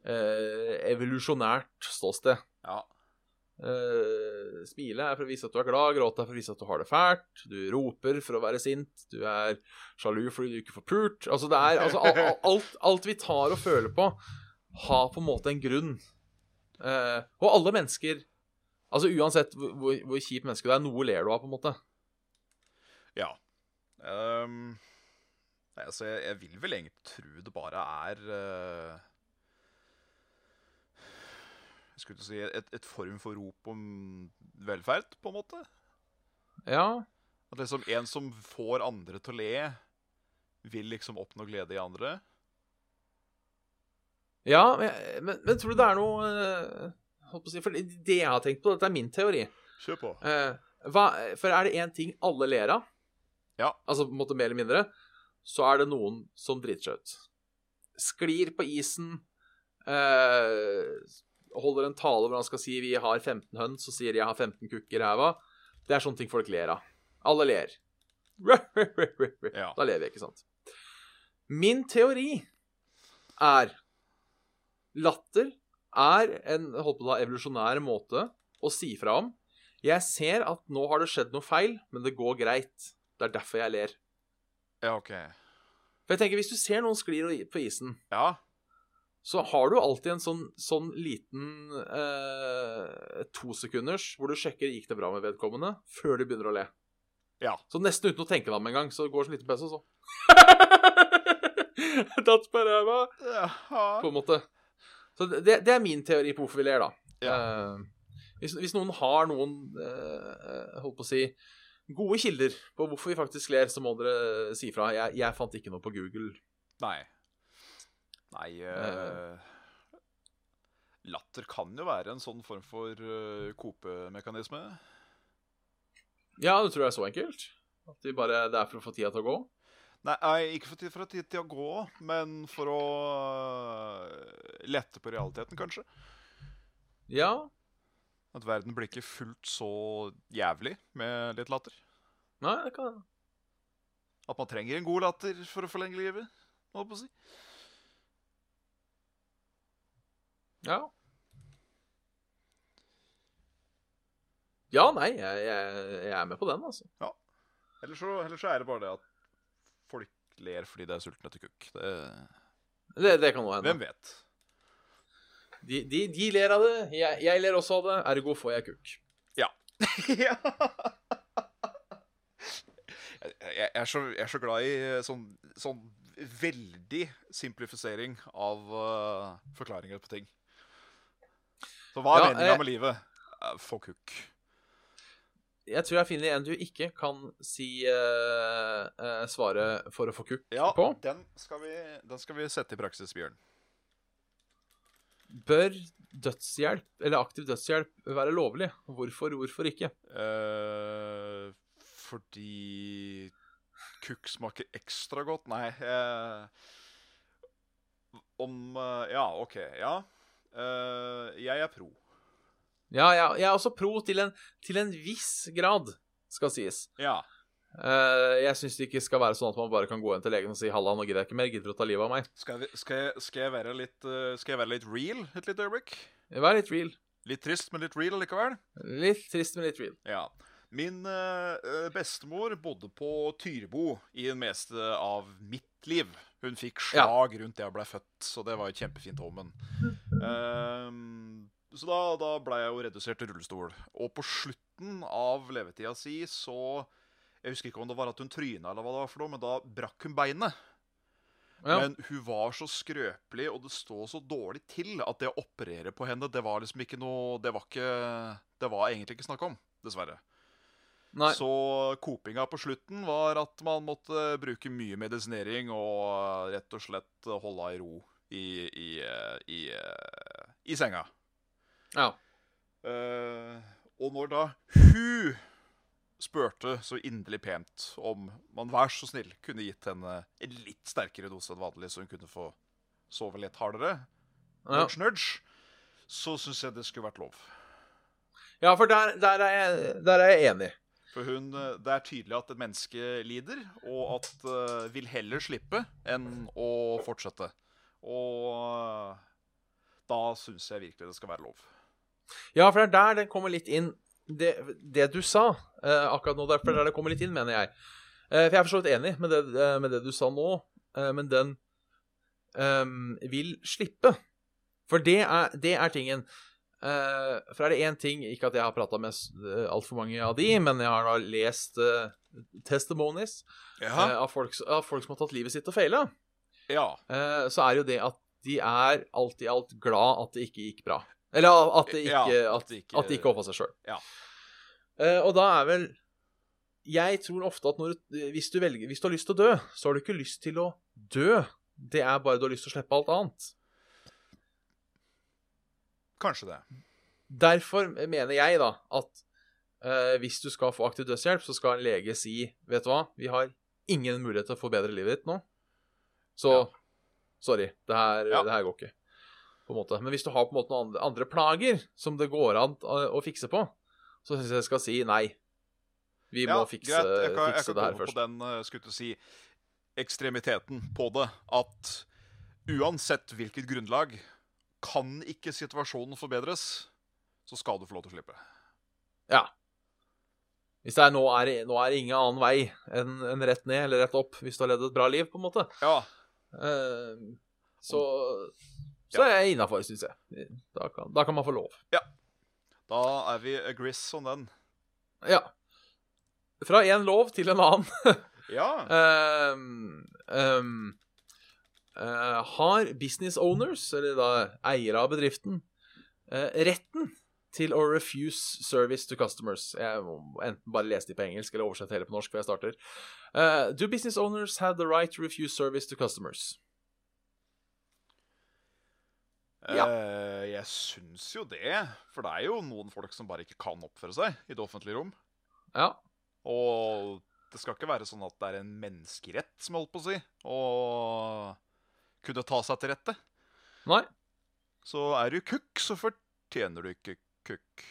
B: eh, evolusjonært ståsted.
C: Ja.
B: Eh, smile er for å vise at du er glad, gråte er for å vise at du har det fælt. Du roper for å være sint. Du er sjalu fordi du ikke får pult. Altså, det er altså, al- al- alt, alt vi tar og føler på, har på en måte en grunn. Eh, og alle mennesker Altså Uansett hvor, hvor- hvor kjipt menneske du er, noe ler du av, på en måte.
C: Ja. Ehm, nei, altså, jeg, jeg vil vel egentlig tro det bare er eh, Jeg skulle til å si et, et form for rop om velferd, på en måte.
B: Ja,
C: At liksom en som får andre til å le, vil liksom oppnå glede i andre.
B: ja men, men, men tror du det er noe eh, holdt på å si, For det det jeg har tenkt på, dette er min teori.
C: Kjør på.
B: Eh, hva, for er det én ting alle ler av,
C: Ja.
B: altså på en måte mer eller mindre, så er det noen som driter seg ut. Sklir på isen, eh, holder en tale hvor han skal si 'vi har 15 høns', og sier 'jeg har 15 kukker i ræva'. Det er sånne ting folk ler av. Alle ler.
C: Ja.
B: Da ler vi, ikke sant? Min teori er Latter er en holdt på å ta, evolusjonær måte å si fra om. Jeg ser at nå har det skjedd noe feil, men det går greit. Det er derfor jeg ler.
C: Ja, OK.
B: For jeg tenker, Hvis du ser noen sklir i- på isen,
C: Ja.
B: så har du alltid en sånn, sånn liten eh, tosekunders hvor du sjekker gikk det bra med vedkommende, før de begynner å le.
C: Ja.
B: Så nesten uten å tenke deg om engang, så går det en liten pause, og så Tatt på ræva, på en måte. Så det, det er min teori på hvorfor vi ler, da. Eh, hvis, hvis noen har noen eh, holdt på å si gode kilder på hvorfor vi faktisk ler, så må dere eh, si fra. Jeg, jeg fant ikke noe på Google.
C: Nei. Nei eh, Latter kan jo være en sånn form for eh, kopemekanisme.
B: Ja, du tror det er så enkelt? At de bare, det er for å få tida til å gå?
C: Nei, nei, ikke for tid for at tid til å gå, men for å eh, lette på realiteten, kanskje.
B: Ja.
C: At verden blir ikke fullt så jævlig med litt latter.
B: Nei, det kan
C: At man trenger en god latter for å forlenge livet. Holdt på å si.
B: Ja. Ja, nei, jeg, jeg, jeg er med på den, altså.
C: Eller så, ellers så er det bare det at folk ler fordi de er sultne etter kukk. Det,
B: Det, det kan nå hende.
C: hvem vet?
B: De, de, de ler av det, jeg, jeg ler også av det, ergo får jeg kukk.
C: ja. jeg, jeg, er så, jeg er så glad i eh, sånn, sånn veldig simplifisering av eh, forklaringer på ting. Så hva er
B: Ja,
C: meninga
B: eh,
C: med livet? Uh, Få kukk.
B: Jeg tror jeg finner en du ikke kan si eh, eh, svare for å få kukk
C: Ja,
B: på.
C: den skal, vi, den skal vi sette i praksis, Bjørn.
B: Bør dødshjelp, eller aktiv dødshjelp, være lovlig? Hvorfor, hvorfor ikke?
C: Eh, fordi kukk smaker ekstra godt? Nei eh, Om eh, Ja, OK. Ja. Eh, jeg er pro.
B: Ja, jeg, jeg er også pro til en, til en viss grad, skal sies.
C: Ja.
B: Eh, jeg syns det ikke skal være sånn at man bare kan gå inn til legen og si 'halla, nå gidder jeg ikke mer, gidder du å ta livet av meg'?
C: Skal, vi, skal, jeg, skal, jeg være litt, eh, skal jeg være litt real et lite øyeblikk?
B: Vær litt real.
C: Litt trist, men litt real likevel.
B: Litt trist, men litt real.
C: Ja. Min eh, eh, bestemor bodde på Tyrebo i det meste av mitt liv. Hun fikk
B: Ja.
C: slag rundt det jeg ble født, så det var et kjempefint omen. Ehm, så da, da ble jeg jo redusert til rullestol. Og på slutten av levetida si så Jeg husker ikke om det var at hun tryna, eller hva det var for noe, men da brakk hun beinet.
B: Ja.
C: Men hun var så skrøpelig, og det stod så dårlig til at det å operere på henne, det var liksom ikke noe Det var, ikke, det var egentlig ikke snakk om, dessverre.
B: Nei.
C: Så kopinga på slutten var at man måtte bruke mye medisinering og eh, rett og slett holde i ro i, i, eh, i, eh, i senga.
B: Ja.
C: Eh, og når da hun spurte så inderlig pent om man vær så snill kunne gitt henne en litt sterkere dose enn vanlig, så hun kunne få sove litt hardere,
B: Ja.
C: nudge, nudge, så syns jeg det skulle vært lov.
B: ja, for der, der, er jeg, der er jeg enig.
C: For hun, eh, det er tydelig at et menneske lider, og at eh, vil heller slippe enn å fortsette. Og eh, da syns jeg virkelig det skal være lov.
B: Ja, for det er der den kommer litt inn. Det, det du sa eh, akkurat nå, derfor er der det kommer litt inn, mener jeg. Eh, for jeg er for så vidt enig med det, eh, med det du sa nå, eh, men den eh, vil slippe. For det er, det er tingen. Eh, for er det én ting Ikke at jeg har prata med altfor mange av de, men jeg har da lest eh, testimonies eh,
C: Ja.
B: av, folk, s- av folk som har tatt livet sitt og feila.
C: ja.
B: Eh, så er jo det at de er alt i alt glad at det ikke gikk bra. Eller at det ikke,
C: Ja,
B: at,
C: at det ikke-
B: at det ikke hoppa seg sjøl.
C: Ja.
B: og da er vel Jeg tror ofte at når du, hvis, du velger, hvis du har lyst til å dø, så har du ikke lyst til å dø. Det er bare du har lyst til å slippe alt annet.
C: Kanskje det.
B: Derfor mener jeg da at eh, hvis du skal få aktiv dødshjelp, så skal en lege si Vet du hva, vi har ingen mulighet til å forbedre livet ditt nå. Så
C: Ja.
B: sorry, det her,
C: Ja.
B: det her går ikke. På en måte. Men hvis du har på en måte noen andre, andre plager som det går an å, å fikse på, så syns jeg jeg skal si nei. Vi må fikse,
C: greit. Jeg kan, jeg
B: fikse
C: kan
B: det her
C: komme
B: først.
C: på den eh, skulle til å si, ekstremiteten på det. At uansett hvilket grunnlag, kan ikke situasjonen forbedres, så skal du få lov til å slippe.
B: Hvis det er nå er, det- nå er det ingen annen vei enn enn rett ned eller rett opp hvis du har levd et bra liv, på en måte.
C: Ja,
B: Eh, så så er jeg innafor, syns jeg. Da kan, da kan man få lov.
C: da er vi agrees om den.
B: Ja. Fra én lov til en annen.
C: Ja.
B: Ehm, ehm, eh, har business owners, eller da eiere av bedriften, eh, retten til å refuse service to customers? Jeg må enten bare lese de på engelsk eller oversette hele på norsk før jeg starter. Eh, do business owners have the right to refuse service to customers? ja.
C: Eh, jeg syns jo det. For det er jo noen folk som bare ikke kan oppføre seg i det offentlige rom.
B: Ja.
C: Og det skal ikke være sånn at det er en menneskerett, som jeg holdt på å si, å kunne ta seg til rette.
B: Nei.
C: Så er du kukk, så fortjener du ikke kukk.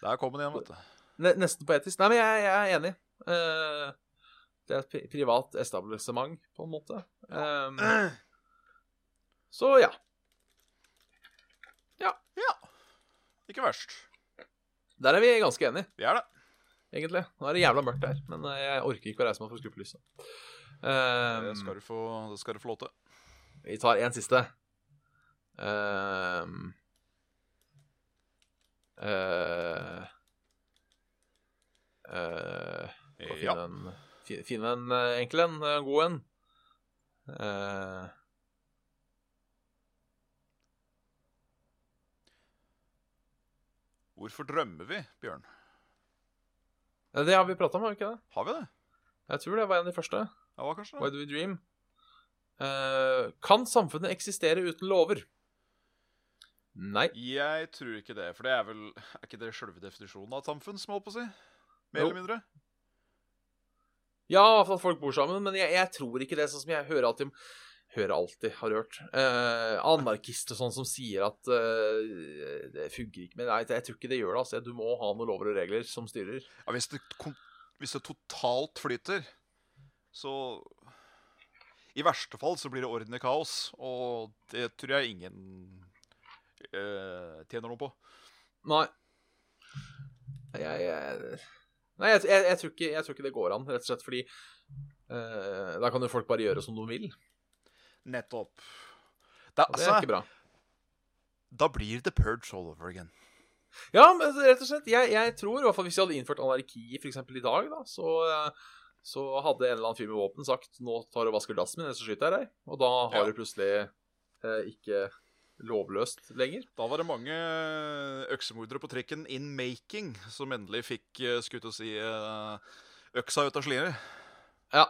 C: Der kom den igjen, vet du.
B: Ne nesten poetisk. Nei, men jeg, jeg er enig. Eh, det er et pri privat establishment, på en måte. Eh, så ja.
C: Ikke verst.
B: Der er vi ganske enige,
C: Vi er det.
B: egentlig. Nå er det jævla mørkt her, men eh, jeg orker ikke å reise meg for å skru på lyset. Eh,
C: Det skal du få, det skal du få lov til.
B: Vi tar en siste. Ehm. Eh. Eh. Skal finne
C: Ja.
B: en, fi- finne en eh, enkel en, eh, god en. Eh,
C: Hvorfor drømmer vi, Bjørn?
B: det har vi prata om, har vi ikke det?
C: Har vi det?
B: Jeg tror det var en av de første.
C: Ja, hva kanskje det?
B: Why do we dream? Eh, kan samfunnet eksistere uten lover? Nei.
C: Jeg tror ikke det, for det er vel Er ikke det sjølve definisjonen av et samfunn, som jeg holdt på å si? Mer
B: Jo.
C: eller mindre?
B: Ja, i hvert fall at folk bor sammen, men jeg, jeg tror ikke det, sånn som jeg hører alltid Hører alltid, har hørt. Eh, anarkister og sånn som sier at eh, det funker ikke. Men nei, jeg tror ikke det gjør det. altså. Du må ha noen lover og regler som styrer.
C: Ja, hvis det, kon- hvis det totalt flyter, så I verste fall så blir det orden i kaos, og det tror jeg ingen eh, tjener noe på.
B: Nei. Jeg, jeg, nei, jeg, jeg, jeg, tror ikke, jeg tror ikke det går an, rett og slett fordi eh, da kan jo folk bare gjøre som de vil.
C: Nettopp. Da,
B: Og det er
C: altså,
B: ikke bra.
C: da blir det purge all over again.
B: Ja, men altså, rett og slett. Jeg, jeg tror, i hvert fall hvis jeg hadde innført anarki for eksempel i dag, da, så, eh, så hadde en eller annen fyr med våpen sagt 'Nå tar du og vasker dassen min, ellers så skyter jeg deg'. Og da har
C: Ja.
B: du plutselig eh, ikke lovløst lenger.
C: Da var det mange eh, øksemordere på trikken in making som endelig fikk eh, skutt å si eh, øksa ut av sliret.
B: Ja.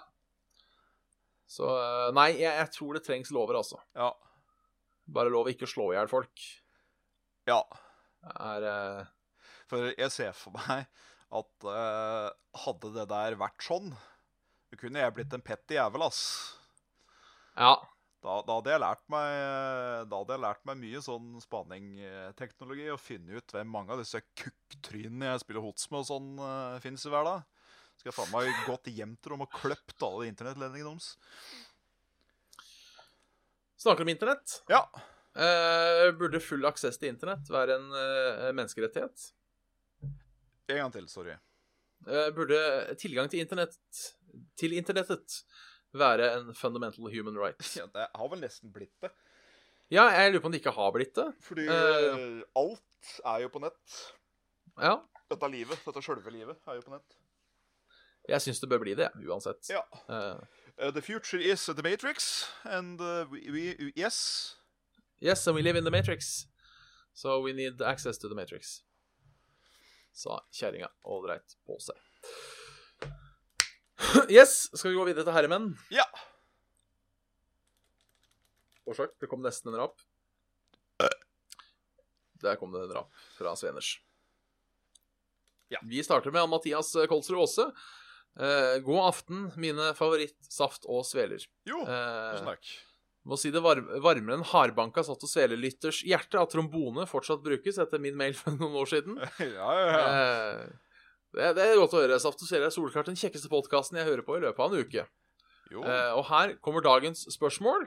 B: Så eh, nei, jeg, jeg tror det trengs lover, altså.
C: Ja.
B: Bare lov å ikke slå i hjel folk.
C: ja.
B: Er eh,
C: For jeg ser for meg at eh, hadde det der vært sånn, så kunne jeg blitt en petty jævel, ass.
B: Ja.
C: Da, da, hadde jeg lært meg, eh, da hadde jeg lært meg mye sånn spaningteknologi og funnet ut hvem mange av disse kuktrynene jeg spiller hots med og sånn uh, finnes i hverdag. Skal jeg faen meg gått hjem til dem og kløpt alle internettledningene deres.
B: Snakker om internett.
C: Ja.
B: Eh, burde full aksess til internett være en eh, menneskerettighet?
C: En gang til, sorry.
B: Eh, burde tilgang til internett til internettet være en fundamental human right?
C: Ja, det har vel nesten blitt det.
B: Ja, jeg lurer på om det ikke har blitt det.
C: Fordi
B: Eh.
C: eh, alt er jo på nett.
B: Ja,
C: Dette livet, dette sjølve livet, er jo på nett.
B: jeg syns det bør bli det, uansett.
C: Ja.
B: Eh,
C: Eh, the future is the Matrix, and eh, we, we Yes.
B: yes, and we live in the Matrix, so we need access to the Matrix. Sa kjerringa ålreit på seg. Yes, skal vi gå videre til herremenn?
C: Ja.
B: Årsak, det kom nesten en rap. Der kom det en rap fra Sveners.
C: Ja.
B: Vi starter med Mathias Kolsrud Aase. Eh, god aften, mine favorittsaft og sveler.
C: Jo,
B: Eh,
C: tusen takk.
B: må si det var varmere enn hardbanka satt hos velelytters hjerte at trombone fortsatt brukes etter min mail for noen år siden.
C: ja, ja, ja.
B: Eh, det, det er godt å høre. Saft og Svele er solklart den kjekkeste podkasten jeg hører på i løpet av en uke.
C: Jo.
B: Eh, og her kommer dagens spørsmål.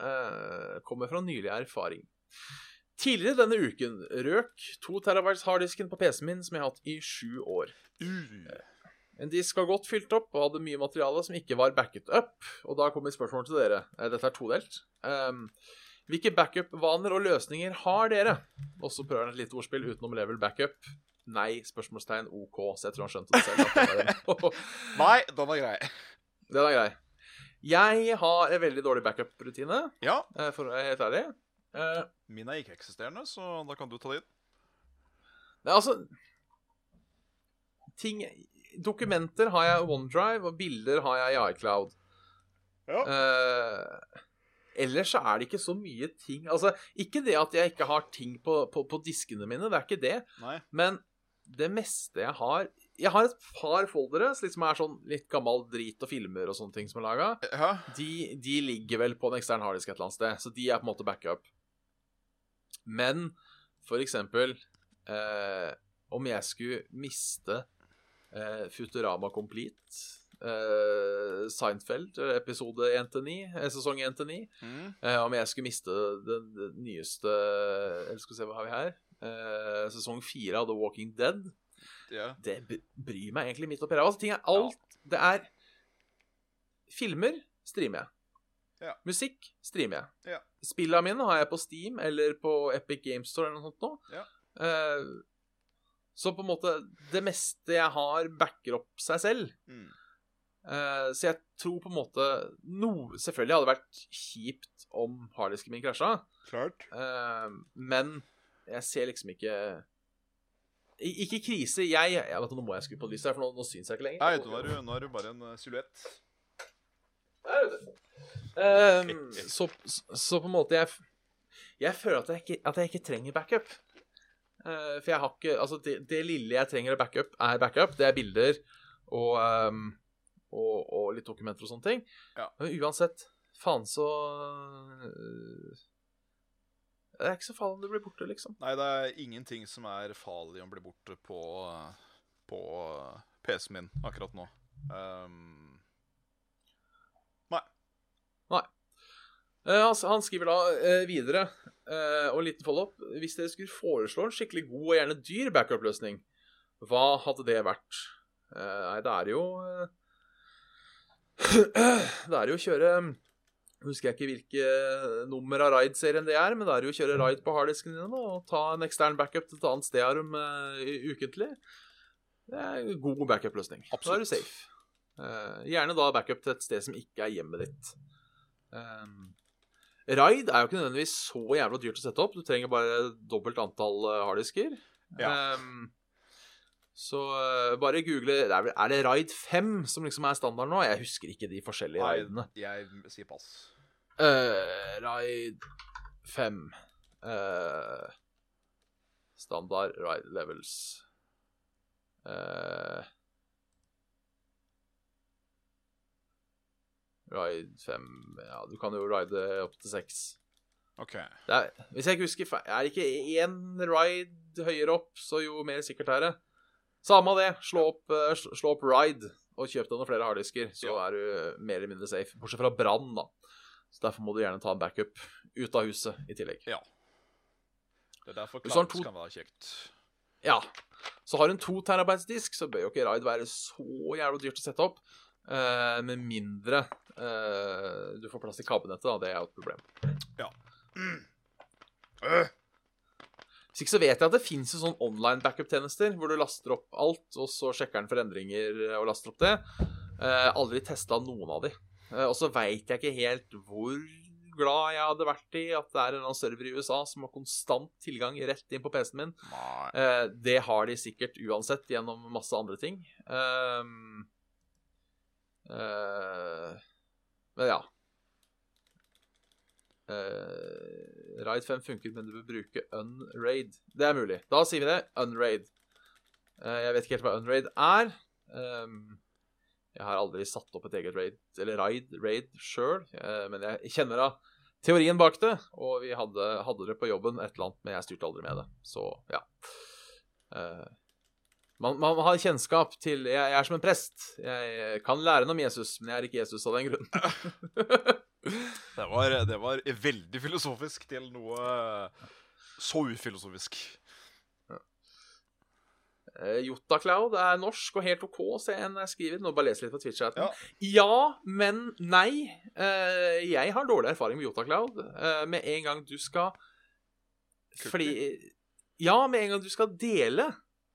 B: Eh, kommer fra nylig erfaring. Tidligere denne uken røk 2 terabytes harddisken på PC-en min som jeg har hatt i sju år.
C: Uh,
B: En disk var godt fylt opp og hadde mye materiale som ikke var backet up. Og da kommer mitt spørsmål til dere. Eh, Dette er todelt. Um, hvilke backup-vaner og løsninger har dere? Og så prøver han et lite ordspill utenom level backup. Nei, spørsmålstegn, OK. Så jeg tror han skjønte det selv. at det var en.
C: nei, den var grei.
B: Den er grei. Jeg har en veldig dårlig backup-rutine,
C: Ja,
B: eh, for å være helt ærlig. Eh,
C: min er ikke-eksisterende, så da kan du ta din.
B: Nei, altså Ting Dokumenter har jeg i OneDrive, og bilder har jeg i iCloud.
C: Ja.
B: Eh, ellers så er det ikke så mye ting Altså, ikke det at jeg ikke har ting på, på, på diskene mine, det er ikke det,
C: Nei.
B: men det meste jeg har Jeg har et par foldere som liksom er sånn litt gammel drit og filmer og sånne ting som er laga.
C: Ja.
B: De, de ligger vel på en ekstern harddisk et eller annet sted, så de er på en måte backup. Men for eksempel eh, Om jeg skulle miste eh, Futurama Complete, eh, Seinfeld, eh, episode 1-9, eh, sesong 1-9
C: Mm.
B: eh, Om jeg skulle miste den, den nyeste Eller skal vi se, hva har vi her? Eh, sesong 4 av The Walking Dead
C: Ja.
B: det br- bryr meg egentlig midt oppi ræva. Altså, ting er alt Det er filmer streamer jeg.
C: Ja.
B: Musikk streamer jeg.
C: Ja.
B: Spillene mine har jeg på Steam eller på Epic Games Store eller noe sånt nå.
C: Ja.
B: Eh, så på en måte Det meste jeg har, backer opp seg selv.
C: Mm.
B: Eh, så jeg tror på en måte no, Selvfølgelig hadde det vært kjipt om harddisken min krasja.
C: Klart.
B: Eh, men jeg ser liksom ikke I- Ikke krise. Jeg, jeg vet, du, Nå må jeg skru på lyset, her, for nå, nå syns jeg ikke lenger.
C: Nei, nå er, du, nå er du bare en eh, silhuett.
B: Der, vet du. Ehm, så, så på en måte Jeg, jeg føler at jeg, ikke, at jeg ikke trenger backup. Eh, for jeg har ikke Altså, det, det lille jeg trenger av backup, er backup. Det er bilder og, ehm, og, og litt dokumenter og sånne ting.
C: Ja.
B: Men uansett, faen så øh, Det er ikke så farlig om det blir borte, liksom.
C: Nei, det er ingenting som er farlig om blir borte på, eh, på eh, PC-en min akkurat nå. Um,
B: Eh, han, han skriver da eh, videre, eh, og en liten follow-up Hvis dere skulle foreslå en skikkelig god og gjerne dyr backup-løsning, hva hadde det vært? Eh, nei, det er jo eh, Det er jo å kjøre mm, Nå husker jeg ikke hvilke eh, nummer av Raid-serien det er, men det er jo å kjøre Raid på harddisken din og ta en ekstern backup til et annet sted her om eh, i- ukentlig. Det er en god backup-løsning. Da er
C: Absolutt.
B: du safe. Eh, gjerne da backup til et sted som ikke er hjemmet ditt. Um, Raid er jo ikke nødvendigvis så jævla dyrt å sette opp. Du trenger bare dobbelt antall eh, harddisker.
C: Ja.
B: Um, så eh, bare google det er, vel- er det Raid 5 som liksom er standarden nå? Jeg husker ikke de forskjellige raidene.
C: nei, jeg sier pass.
B: Eh, raid 5 eh, Standard raid levels Eh, Raid 5 Ja, du kan jo raide opp til 6
C: OK.
B: det er, Hvis jeg ikke husker feil Er det ikke én ride høyere opp Så jo mer sikkert er det Samme av det, slå opp, eh, sl- slå opp ride Og kjøp deg noen flere harddisker Så
C: Ja.
B: er du mer eller mindre safe Bortsett fra brann da Så derfor må du gjerne ta en backup ut av huset i tillegg.
C: Ja. Det er derfor
B: Hvis du har
C: clouds
B: to-
C: kan være kjekt.
B: Ja. Så har du en 2 terabytes disk, så bør jo ikke Raid være så jævla dyrt å sette opp. eh, med mindre eh, du får plass i kabinettet, da. Det er jo et problem. Eh.
C: Øh,
B: Hvis ikke så vet jeg at det fins sånn online backup-tjenester hvor du laster opp alt, og så sjekker den for endringer og laster opp det. Eh, aldri testa noen av de. Eh, og så veit jeg ikke helt hvor glad jeg hadde vært i at det er en eller annen server i USA som har konstant tilgang rett inn på PC-en min.
C: Nei.
B: Eh, det har de sikkert uansett gjennom masse andre ting. Ehm, eh, men ja. Uh, Raid 5 funker, men du bør bruke unraid. Det er mulig. Da sier vi det. Unraid. Eh, jeg vet ikke helt hva unraid er. Ehm, jeg har aldri satt opp et eget raid, eller raid, raid sjøl, eh, men jeg kjenner da teorien bak det, og vi hadde, hadde det på jobben, et eller annet, men jeg styrte aldri med det. Så ja. Eh, man, man har kjennskap til jeg, jeg er som en prest. Jeg kan lære noe om Jesus, men jeg er ikke Jesus av den grunn.
C: Det var, det var veldig filosofisk til noe så ufilosofisk.
B: Eh, Jota Cloud er norsk og helt OK, ser jeg når jeg skriver. Nå bare leser jeg litt på Twitch-chatten.
C: Ja.
B: Ja. men nei. Eh, jeg har dårlig erfaring med Jota Cloud. Eh, med en gang du skal Fordi Ja, med en gang du skal dele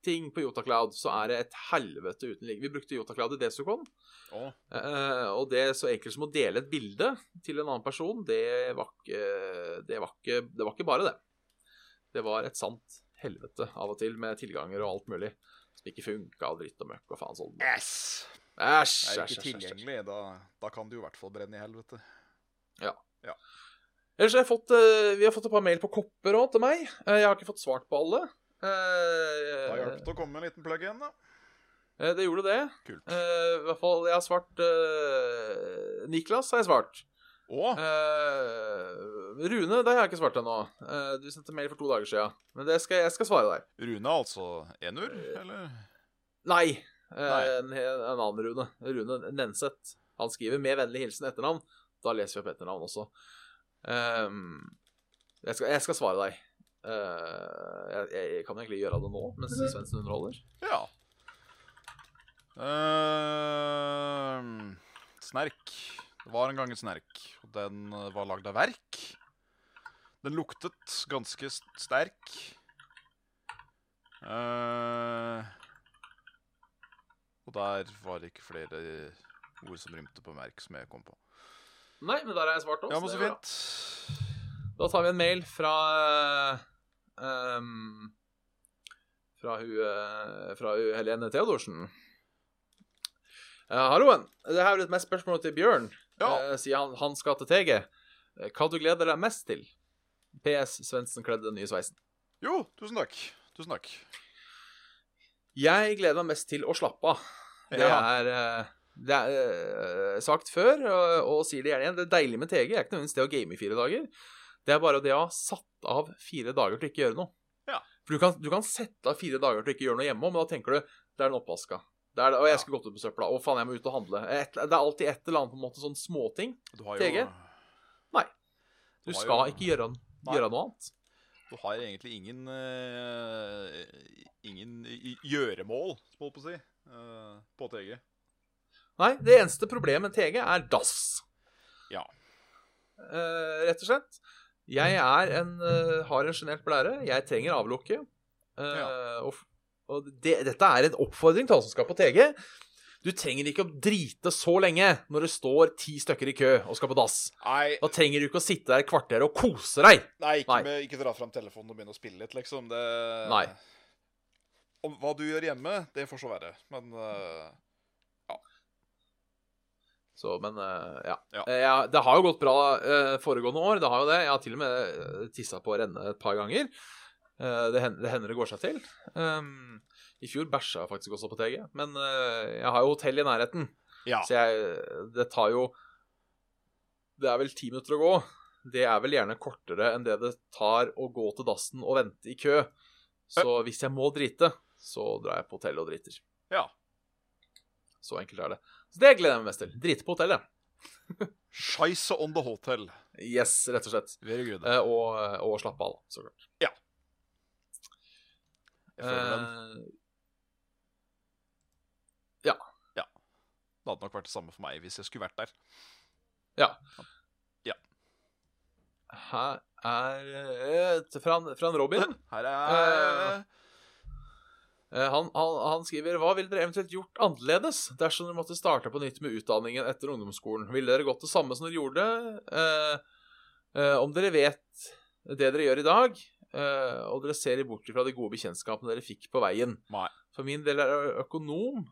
B: ting på Jota Cloud, så er det et helvete uten like. Vi brukte Jota Cloud i Desicon.
C: Å,
B: Eh, og det er så enkelt som å dele et bilde til en annen person, det var ikke, det var ikke, det var ikke bare det. Det var et sant helvete av og til, med tilganger og alt mulig som ikke funka, og dritt og møkk og faen sånn.
C: yes!
B: Æsj,
C: Er det
B: æsj,
C: ikke
B: æsj, æsj, æsj.
C: tilgjengelig, da, da kan du i hvert fall brenne i helvete.
B: Ellers har jeg fått, eh, vi har fått et par mail på kopper òg til meg. Eh, jeg har ikke fått svart på alle.
C: Da
B: Eh,
C: hjalp det å komme med en liten plug-in, da.
B: eh, det gjorde det.
C: Kult.
B: Eh, I hvert fall, jeg har svart eh, Niklas har jeg svart.
C: Å,
B: Eh, Rune, det har jeg ikke svart ennå. Eh, du sendte mail for to dager siden. Men det skal, jeg skal svare deg.
C: Rune altså enur, eller?
B: Nei. eh,
C: Nei.
B: En, en annen Rune. Rune Nenseth. Han skriver med vennlig hilsen etternavn. Da leser vi opp etternavn også. Ehm, jeg, skal, jeg skal svare deg. Eh, jeg, jeg, jeg kan egentlig gjøre det nå, mens Svendsen underholder.
C: Ja. Ehm, snerk. Det var en gang en snerk. og Den eh, var lagd av verk. Den luktet ganske s- sterk. Eh, og der var det ikke flere ord som rymte på merk, som jeg kom på.
B: Nei, men der har jeg svart også.
C: Ja, men
B: det
C: så
B: er bra.
C: fint.
B: Da tar vi en mail fra eh, ehm, Fra hun eh, Fra hun Helene Theodorsen. Eh, Halloen. Det her blir et mest spørsmål til Bjørn,
C: Ja.
B: eh, sier han, han skal til TG. Eh, Hva du gleder deg mest til? PS. Svendsen kledde den nye sveisen.
C: Jo, tusen takk. Tusen takk.
B: Jeg gleder meg mest til å slappe av. Det
C: Ja.
B: er, eh, det er eh, sagt før, og, og sier det gjerne igjen. Det er deilig med TG. Det er ikke nødvendigvis det å game i fire dager. Det er bare det å ha satt av fire dager til ikke gjøre noe.
C: Ja.
B: For du kan, du kan sette av fire dager til ikke gjøre noe hjemme, men da tenker du det er den oppvaska. Det er det, og jeg skulle gått ut på søpla. Å, faen, jeg må ut og handle. Et, det er alltid et eller annet på en måte sånn småting.
C: Du har
B: TG?
C: jo,
B: Du
C: Det var
B: skal
C: jo-
B: ikke gjøre,
C: Nei.
B: gjøre noe annet.
C: Du har egentlig ingen eh, Ingen i- i- gjøremål, holdt på å si, eh, på TG.
B: Nei, det eneste problemet med TG er dass.
C: Ja.
B: Eh, rett og slett. Jeg er en, eh, har en sjenert blære. Jeg trenger avlukke. Eh, Og, f- og det, dette er en oppfordring til alle som skal på TG. Du trenger ikke å drite så lenge når det står ti stykker i kø og skal på dass.
C: Nei,
B: Da trenger du ikke å sitte der et kvarter og kose deg.
C: nei, ikke,
B: Nei.
C: Med, ikke dra fram telefonen og begynne å spille litt, liksom. Det
B: Nei.
C: Om hva du gjør hjemme, det får så være. Men eh,
B: Så, men eh, ja.
C: Ja.
B: Eh, ja. Det har jo gått bra eh, foregående år. Det har jo det. Jeg har til og med tissa på å renne et par ganger. Eh, det, hender, det hender det går seg til. Um, I fjor bæsja jeg faktisk også på TG, men eh, jeg har jo hotell i nærheten,
C: ja.
B: så jeg, det tar jo Det er vel ti minutter å gå. Det er vel gjerne kortere enn det det tar å gå til dassen og vente i kø. Så hvis jeg må drite, så drar jeg på hotellet og driter.
C: ja.
B: Så enkelt er det. Så det gleder jeg meg mest til. Drite på hotellet.
C: Scheisse on the hotel.
B: Yes, rett og slett.
C: Very good.
B: Eh, og, og slappe av, så klart.
C: Jeg føler den.
B: Eh,
C: Det hadde nok vært det samme for meg hvis jeg skulle vært der.
B: Eh, her er eh, et- fra, en- fra en Robin.
C: Her er
B: Eh, han, han, han skriver Hva ville dere eventuelt gjort annerledes dersom dere måtte starte på nytt med utdanningen etter ungdomsskolen? Ville dere gått det samme som dere gjorde? Eh, eh, om dere vet det dere gjør i dag, eh, og dere ser bort fra de gode bekjentskapene dere fikk på veien.
C: Nei.
B: For min del er jeg økonom.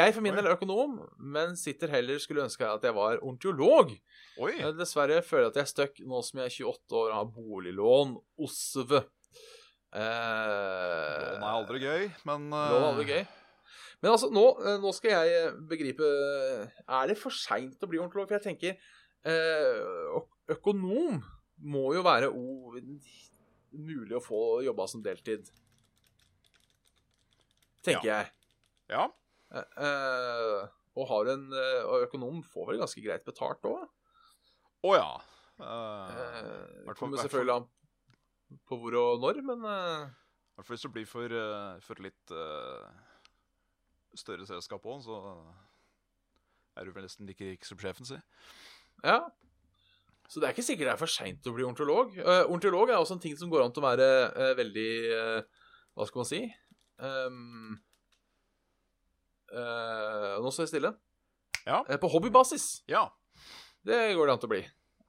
B: Jeg for min
C: Oi.
B: del er økonom, men sitter heller skulle ønske at jeg var orntiolog.
C: Oi!
B: Eh, Dessverre føler jeg at jeg er stuck nå som jeg er 28 år og har boliglån. Eh, OSV.
C: Lån er
B: Eh,
C: aldri gøy, men eh,
B: Lån er aldri gøy. Men altså, nå, eh, nå skal jeg eh, begripe eh, Er det for seint å bli ornitolog? For jeg tenker eh, ø- Økonom må jo være o, mulig å få jobba som deltid. Tenker jeg.
C: Ja.
B: Eh, eh, og har en eh, og økonom får vel ganske greit betalt òg?
C: Å ja. Eh,
B: Uh,
C: hvert fall-
B: kommer
C: hvert
B: selvfølgelig an på hvor og når, men eh,
C: hvert fall hvis du blir for, eh, for litt eh, større selskap òg, så er du vel nesten like rik som sjefen, si.
B: ja. Så det er ikke sikkert det er for seint å bli ornitolog. Eh, ornitolog er også en ting som går an til å være eh, veldig eh, Hva skal man si? Ehm, eh, nå står jeg stille.
C: Ja.
B: Eh, på hobbybasis.
C: Ja.
B: Det går det an til å bli.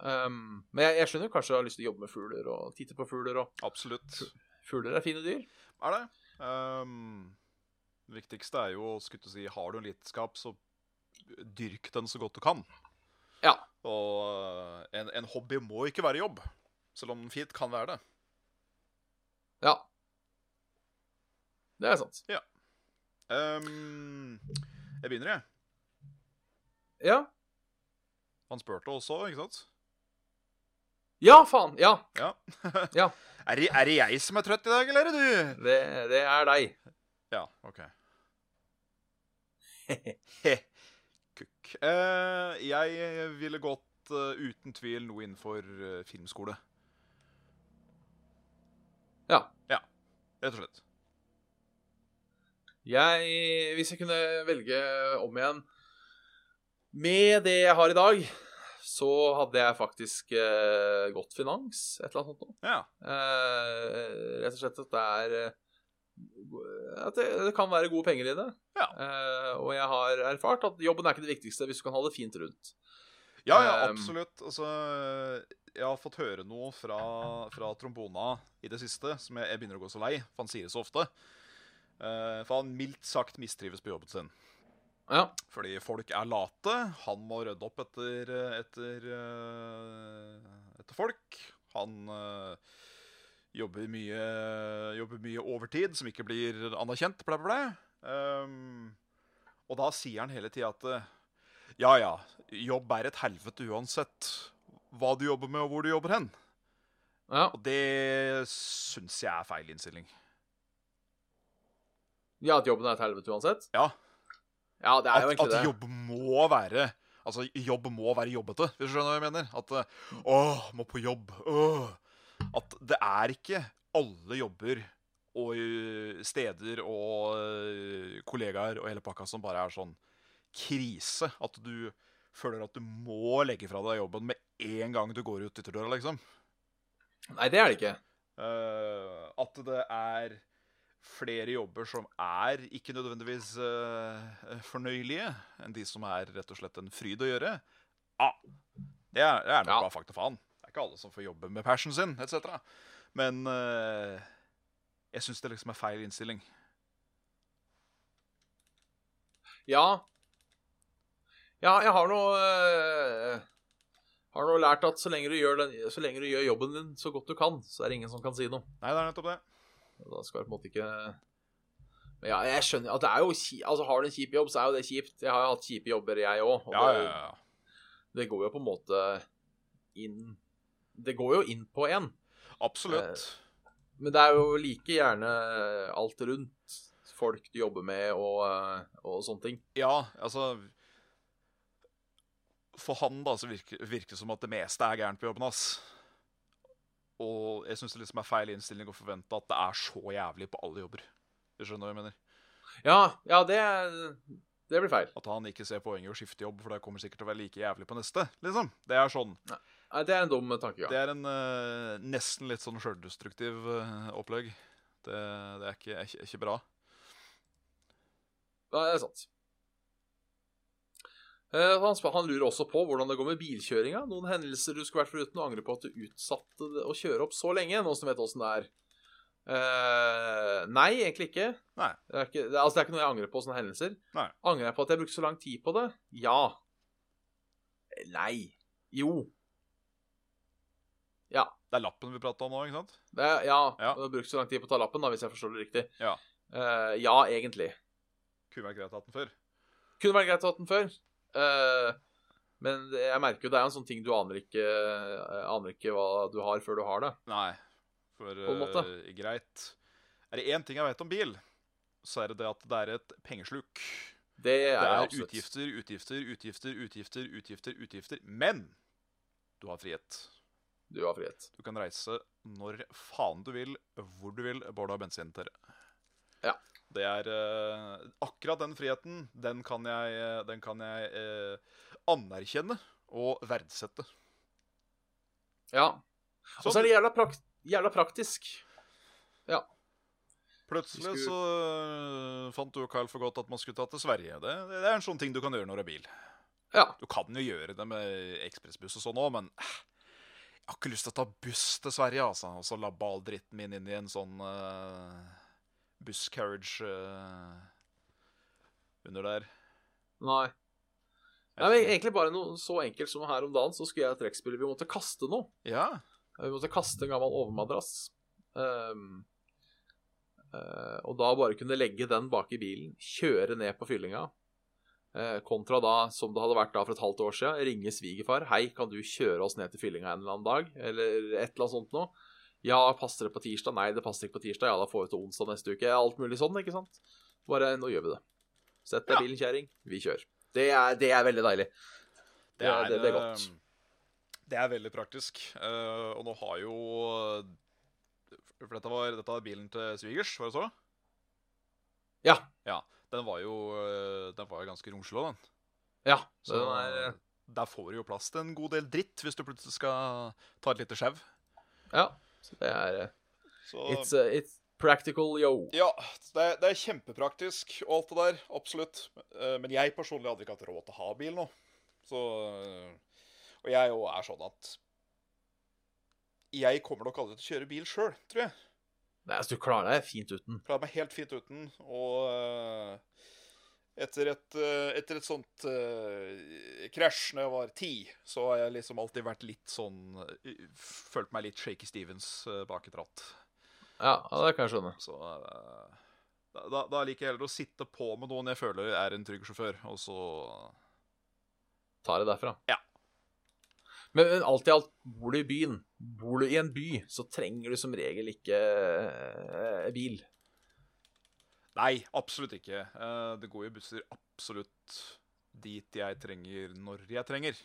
B: Ehm, men jeg, jeg skjønner jo kanskje jeg har lyst til å jobbe med fugler og titte på fugler. Og
C: Absolutt.
B: fugler er fine dyr.
C: er det. Ehm, det viktigste er jo å skutte si har du en lidenskap, så dyrk den så godt du kan.
B: Ja.
C: Og eh, en, en hobby må ikke være jobb, selv om den fint kan være det.
B: Ja. Det er sant.
C: Ehm, jeg begynner, jeg.
B: Ja.
C: Han spurte også, ikke sant?
B: Ja, faen! Ja.
C: Ja.
B: Ja.
C: Er, det, er det jeg som er trøtt i dag, eller er det du?
B: Det, det er deg.
C: Ja, OK. He. Kukk. Eh, jeg ville gått eh, uten tvil noe innenfor eh, filmskole.
B: Ja.
C: Ja, rett og slett.
B: Jeg, hvis jeg kunne velge om igjen med det jeg har i dag, så hadde jeg faktisk eh, gått finans, et eller annet sånt noe.
C: Ja.
B: Eh, rett og slett at det er eh, At det, det kan være gode penger i det.
C: Ja.
B: Eh, og jeg har erfart at jobben er ikke det viktigste hvis du kan ha det fint rundt.
C: Ja, ja,
B: Um,
C: absolutt. Altså, jeg har fått høre noe fra, fra trombona i det siste, som jeg, jeg begynner å gå så lei, for han sier det så ofte. Eh, for han mildt sagt mistrives på jobben sin.
B: Ja.
C: Fordi folk er late. Han må rydde opp etter, eh, etter, eh, etter folk. Han eh, jobber, mye, jobber mye overtid som ikke blir anerkjent, bla, bla, bla. Ehm, og da sier han hele tida at eh, ja, ja, jobb er et helvete uansett hva du jobber med og hvor du jobber hen.
B: ja.
C: Og det syns jeg er feil innstilling.
B: Ja, at jobben er et helvete uansett?
C: Ja,
B: Ja, det er jo
C: At,
B: egentlig
C: at
B: det.
C: jobb må være Altså, jobb må være jobbete, hvis du skjønner hva jeg mener. At eh, åh, må på jobb. Åh. At det er ikke alle jobber og eh, steder og eh, kollegaer og hele pakka som bare er sånn krise. At du føler at du må legge fra deg jobben med en gang du går ut ytterdøra, liksom.
B: Nei, det er det ikke.
C: Eh, at det er flere jobber som er ikke nødvendigvis eh, fornøyelige, enn de som er rett og slett en fryd å gjøre. Ah, det er, det er nok
B: Ja.
C: bare fakta faen. Det er ikke alle som får jobbe med passion sin, etc. Men eh, jeg syns det liksom er feil innstilling.
B: Ja. Ja, jeg har nå øh, Har nå lært at så lenge, du gjør den, så lenge du gjør jobben din så godt du kan, så er det ingen som kan si noe.
C: Nei, det er nettopp det.
B: Da skal jeg på en måte ikke Men ja, jeg skjønner at det er jo kjipt. Altså, har du en kjip jobb, så er jo det kjipt. Jeg har jo hatt kjipe jobber, jeg òg. Og
C: Ja, ja,
B: det,
C: ja.
B: det går jo på en måte inn Det går jo inn på en.
C: ja. Absolutt.
B: Men det er jo like gjerne alt rundt folk du jobber med, og, øh, og sånne ting.
C: Ja, altså for han da, så virker, virker det som at det meste er gærent på jobben hans. Og jeg syns det liksom er feil innstilling å forvente at det er så jævlig på alle jobber. Du skjønner hva jeg mener?
B: Ja, ja det, det blir feil.
C: At han ikke ser poenget i å skifte jobb, for det kommer sikkert til å være like jævlig på neste. liksom. Det er sånn.
B: Nei, Det er en dum tankegang.
C: Det er en eh, nesten litt sånn sjøldestruktiv eh, opplegg. Det, det er, ikke, er, ikke, er ikke bra.
B: Ja, det er sant. Eh, han, spør, han lurer også på hvordan det går med bilkjøringa. Noen hendelser du skulle vært foruten og angrer på at du utsatte det å kjøre opp så lenge, nå som du vet åssen det er. Eh, nei, egentlig ikke.
C: Nei.
B: Det er ikke, det, altså, det er ikke noe jeg angrer på, sånne hendelser.
C: Nei.
B: Angrer jeg på at jeg brukte så lang tid på det? Ja. Eh, Nei. Jo. Ja.
C: Det er lappen vi prata om nå, ikke sant?
B: Det, er- ja.
C: Ja.
B: Du har brukt så lang tid på å ta lappen, da, hvis jeg forstår det riktig.
C: Ja.
B: Eh, ja, egentlig.
C: Kunne vært greit å ha den før.
B: Kunne vært greit å ha hatt den før. Eh, men det- jeg merker jo det er en sånn ting du aner ikke, eh, aner ikke hva du har før du har det.
C: Nei. For
B: På en måte.
C: eh, greit. Er det én ting jeg vet om bil, så er det det at det er et pengesluk.
B: Det er,
C: Det er
B: absolutt.
C: utgifter, utgifter, utgifter, utgifter, utgifter, utgifter. Men du har frihet.
B: Du har frihet.
C: Du kan reise når faen du vil, hvor du vil, bare du har bensin til det.
B: Ja.
C: Det er eh, akkurat den friheten, den kan jeg, eh, den kan jeg eh, anerkjenne og verdsette.
B: Ja. Og så er det jævla, prakt jævla praktisk.
C: Plutselig
B: Vi skulle-
C: så øh, fant du og Carl for godt at man skulle ta til Sverige. Det, det er en sånn ting du kan gjøre når du har bil.
B: Ja.
C: Du kan jo gjøre det med ekspressbuss og sånn òg, men eh, jeg har ikke lyst til å ta buss til Sverige, altså. Og så labbe all dritten min inn i en sånn øh, busscarriage øh, under der.
B: Nei. Nei, men Egentlig bare noe så enkelt som her om dagen, så skulle jeg ha trekkspill. Vi måtte kaste noe.
C: Ja.
B: Eh, Vi måtte kaste en gammel overmadrass. Ehm, eh, og da bare kunne legge den bak i bilen, kjøre ned på fyllinga. Eh, kontra da, som det hadde vært da for et halvt år siden, ringe svigerfar. 'Hei, kan du kjøre oss ned til fyllinga en eller annen dag?' Eller et eller annet sånt noe. 'Ja, passer det på tirsdag?' 'Nei, det passer ikke på tirsdag.' 'Ja, da får vi til onsdag neste uke.' Alt mulig sånn, ikke sant? Bare 'nå gjør vi det'. Sett deg i
C: Ja.
B: bilen, kjerring. Vi kjører. Det er, det er veldig deilig. Det er, det, det er godt.
C: eh, Det er veldig praktisk. eh, og nå har jo øh, For dette var, dette var bilen til svigers, var det så?
B: Ja.
C: Den var jo, eh, den var jo ganske romslig, den.
B: Ja.
C: Så eh,
B: den er, eh,
C: der får du jo plass til en god del dritt hvis du plutselig skal ta et lite sjau.
B: ja. Så det er eh,
C: Så
B: It's, uh, it's practical, yo.
C: ja, det er, det er kjempepraktisk og alt det der. Absolutt. Eh, Men jeg personlig hadde ikke hatt råd til å ha bil nå. Så eh, Og jeg jo er sånn at Jeg kommer nok aldri til å kjøre bil sjøl, tror jeg.
B: Nei, altså, du klarer deg fint uten.
C: Klarer meg helt fint uten. Og eh, etter et, eh, etter et sånt eh, krasj når jeg var ti, så har jeg liksom alltid vært litt sånn eh, Følt meg litt Shaky Stevens eh, bak et ratt.
B: Ja, ja, det kan jeg skjønne.
C: Så eh, da, da, da liker jeg heller å sitte på med noen jeg føler er en trygg sjåfør, og så
B: Tar det derfra.
C: Ja.
B: Men, men alt i alt, bor du i byen, bor du i en by, så trenger du som regel ikke eh, bil.
C: Nei, absolutt ikke. Eh, Det går jo busser absolutt dit jeg trenger, når jeg trenger.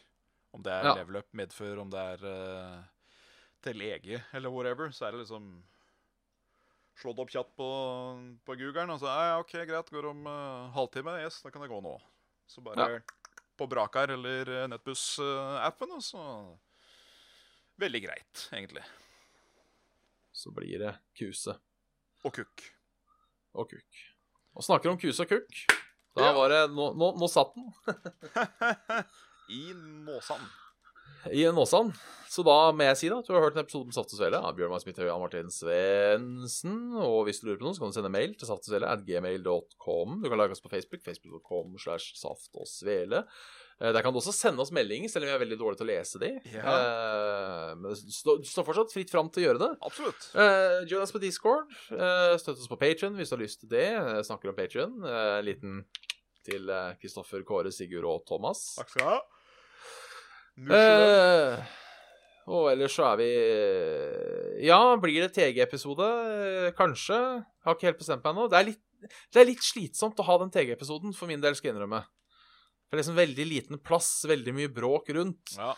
C: Om det er
B: Ja.
C: level up, medfør, om det er eh, til lege eller whatever, så er det liksom Slå det opp kjapt på, på googlen, og så ja, ja, OK, greit, går om eh, halvtime. Yes, da kan det gå nå. Så bare på Brakar eller eh, Nettbuss-appen, og så Veldig greit, egentlig.
B: Så blir det kuse
C: Og kukk.
B: og kukk. Og snakker om kuse og kukk. Da
C: Ja.
B: var det Nå, nå, nå satt den
C: I Nåsan.
B: i en Åsan. Så da må jeg si da at du har hørt en episode med Saft og Svele av Bjørn Magnus Midthaug og Jan Martin Svendsen. Og hvis du lurer på noe, så kan du sende mail til saftogsvele at gmail.com. Du kan lage oss på Facebook, facebook.com slash saft og svele. Eh, Der kan du også sende oss meldinger, selv om vi er veldig dårlige til å lese de. Eh, Men det står det står fortsatt fritt fram til å gjøre det.
C: Absolutt.
B: Eh, join oss på Discord. eh, støtt oss på Patreon hvis du har lyst til det. Eh, snakker om Patreon. Eh, en liten til eh, Kristoffer, Kåre, Sigurd og Thomas.
C: Takk skal du ha. Musje.
B: Eh, og ellers så er vi eh, Ja, blir det TG-episode? Eh, Kanskje. Har ikke helt bestemt meg ennå. Det, er litt- det er litt slitsomt å ha den TG-episoden, for min del, skal jeg innrømme. For det er liksom veldig liten plass, veldig mye bråk rundt.
C: Ja.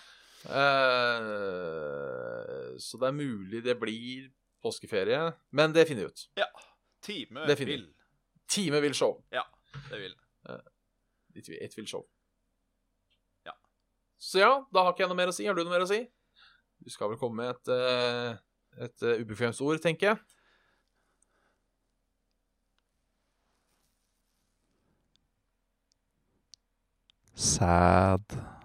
B: Eh, så det er mulig det blir påskeferie, men det finner vi ut.
C: ja. Time
B: Det finner
C: vil.
B: vi. Time vil show.
C: Det vil.
B: It will, it will show.
C: Ja.
B: Så ja, da har ikke jeg noe mer å si. Har du noe mer å si? Du skal vel komme med et, eh, et eh, ubekvemt ord, tenker jeg.
D: Sad.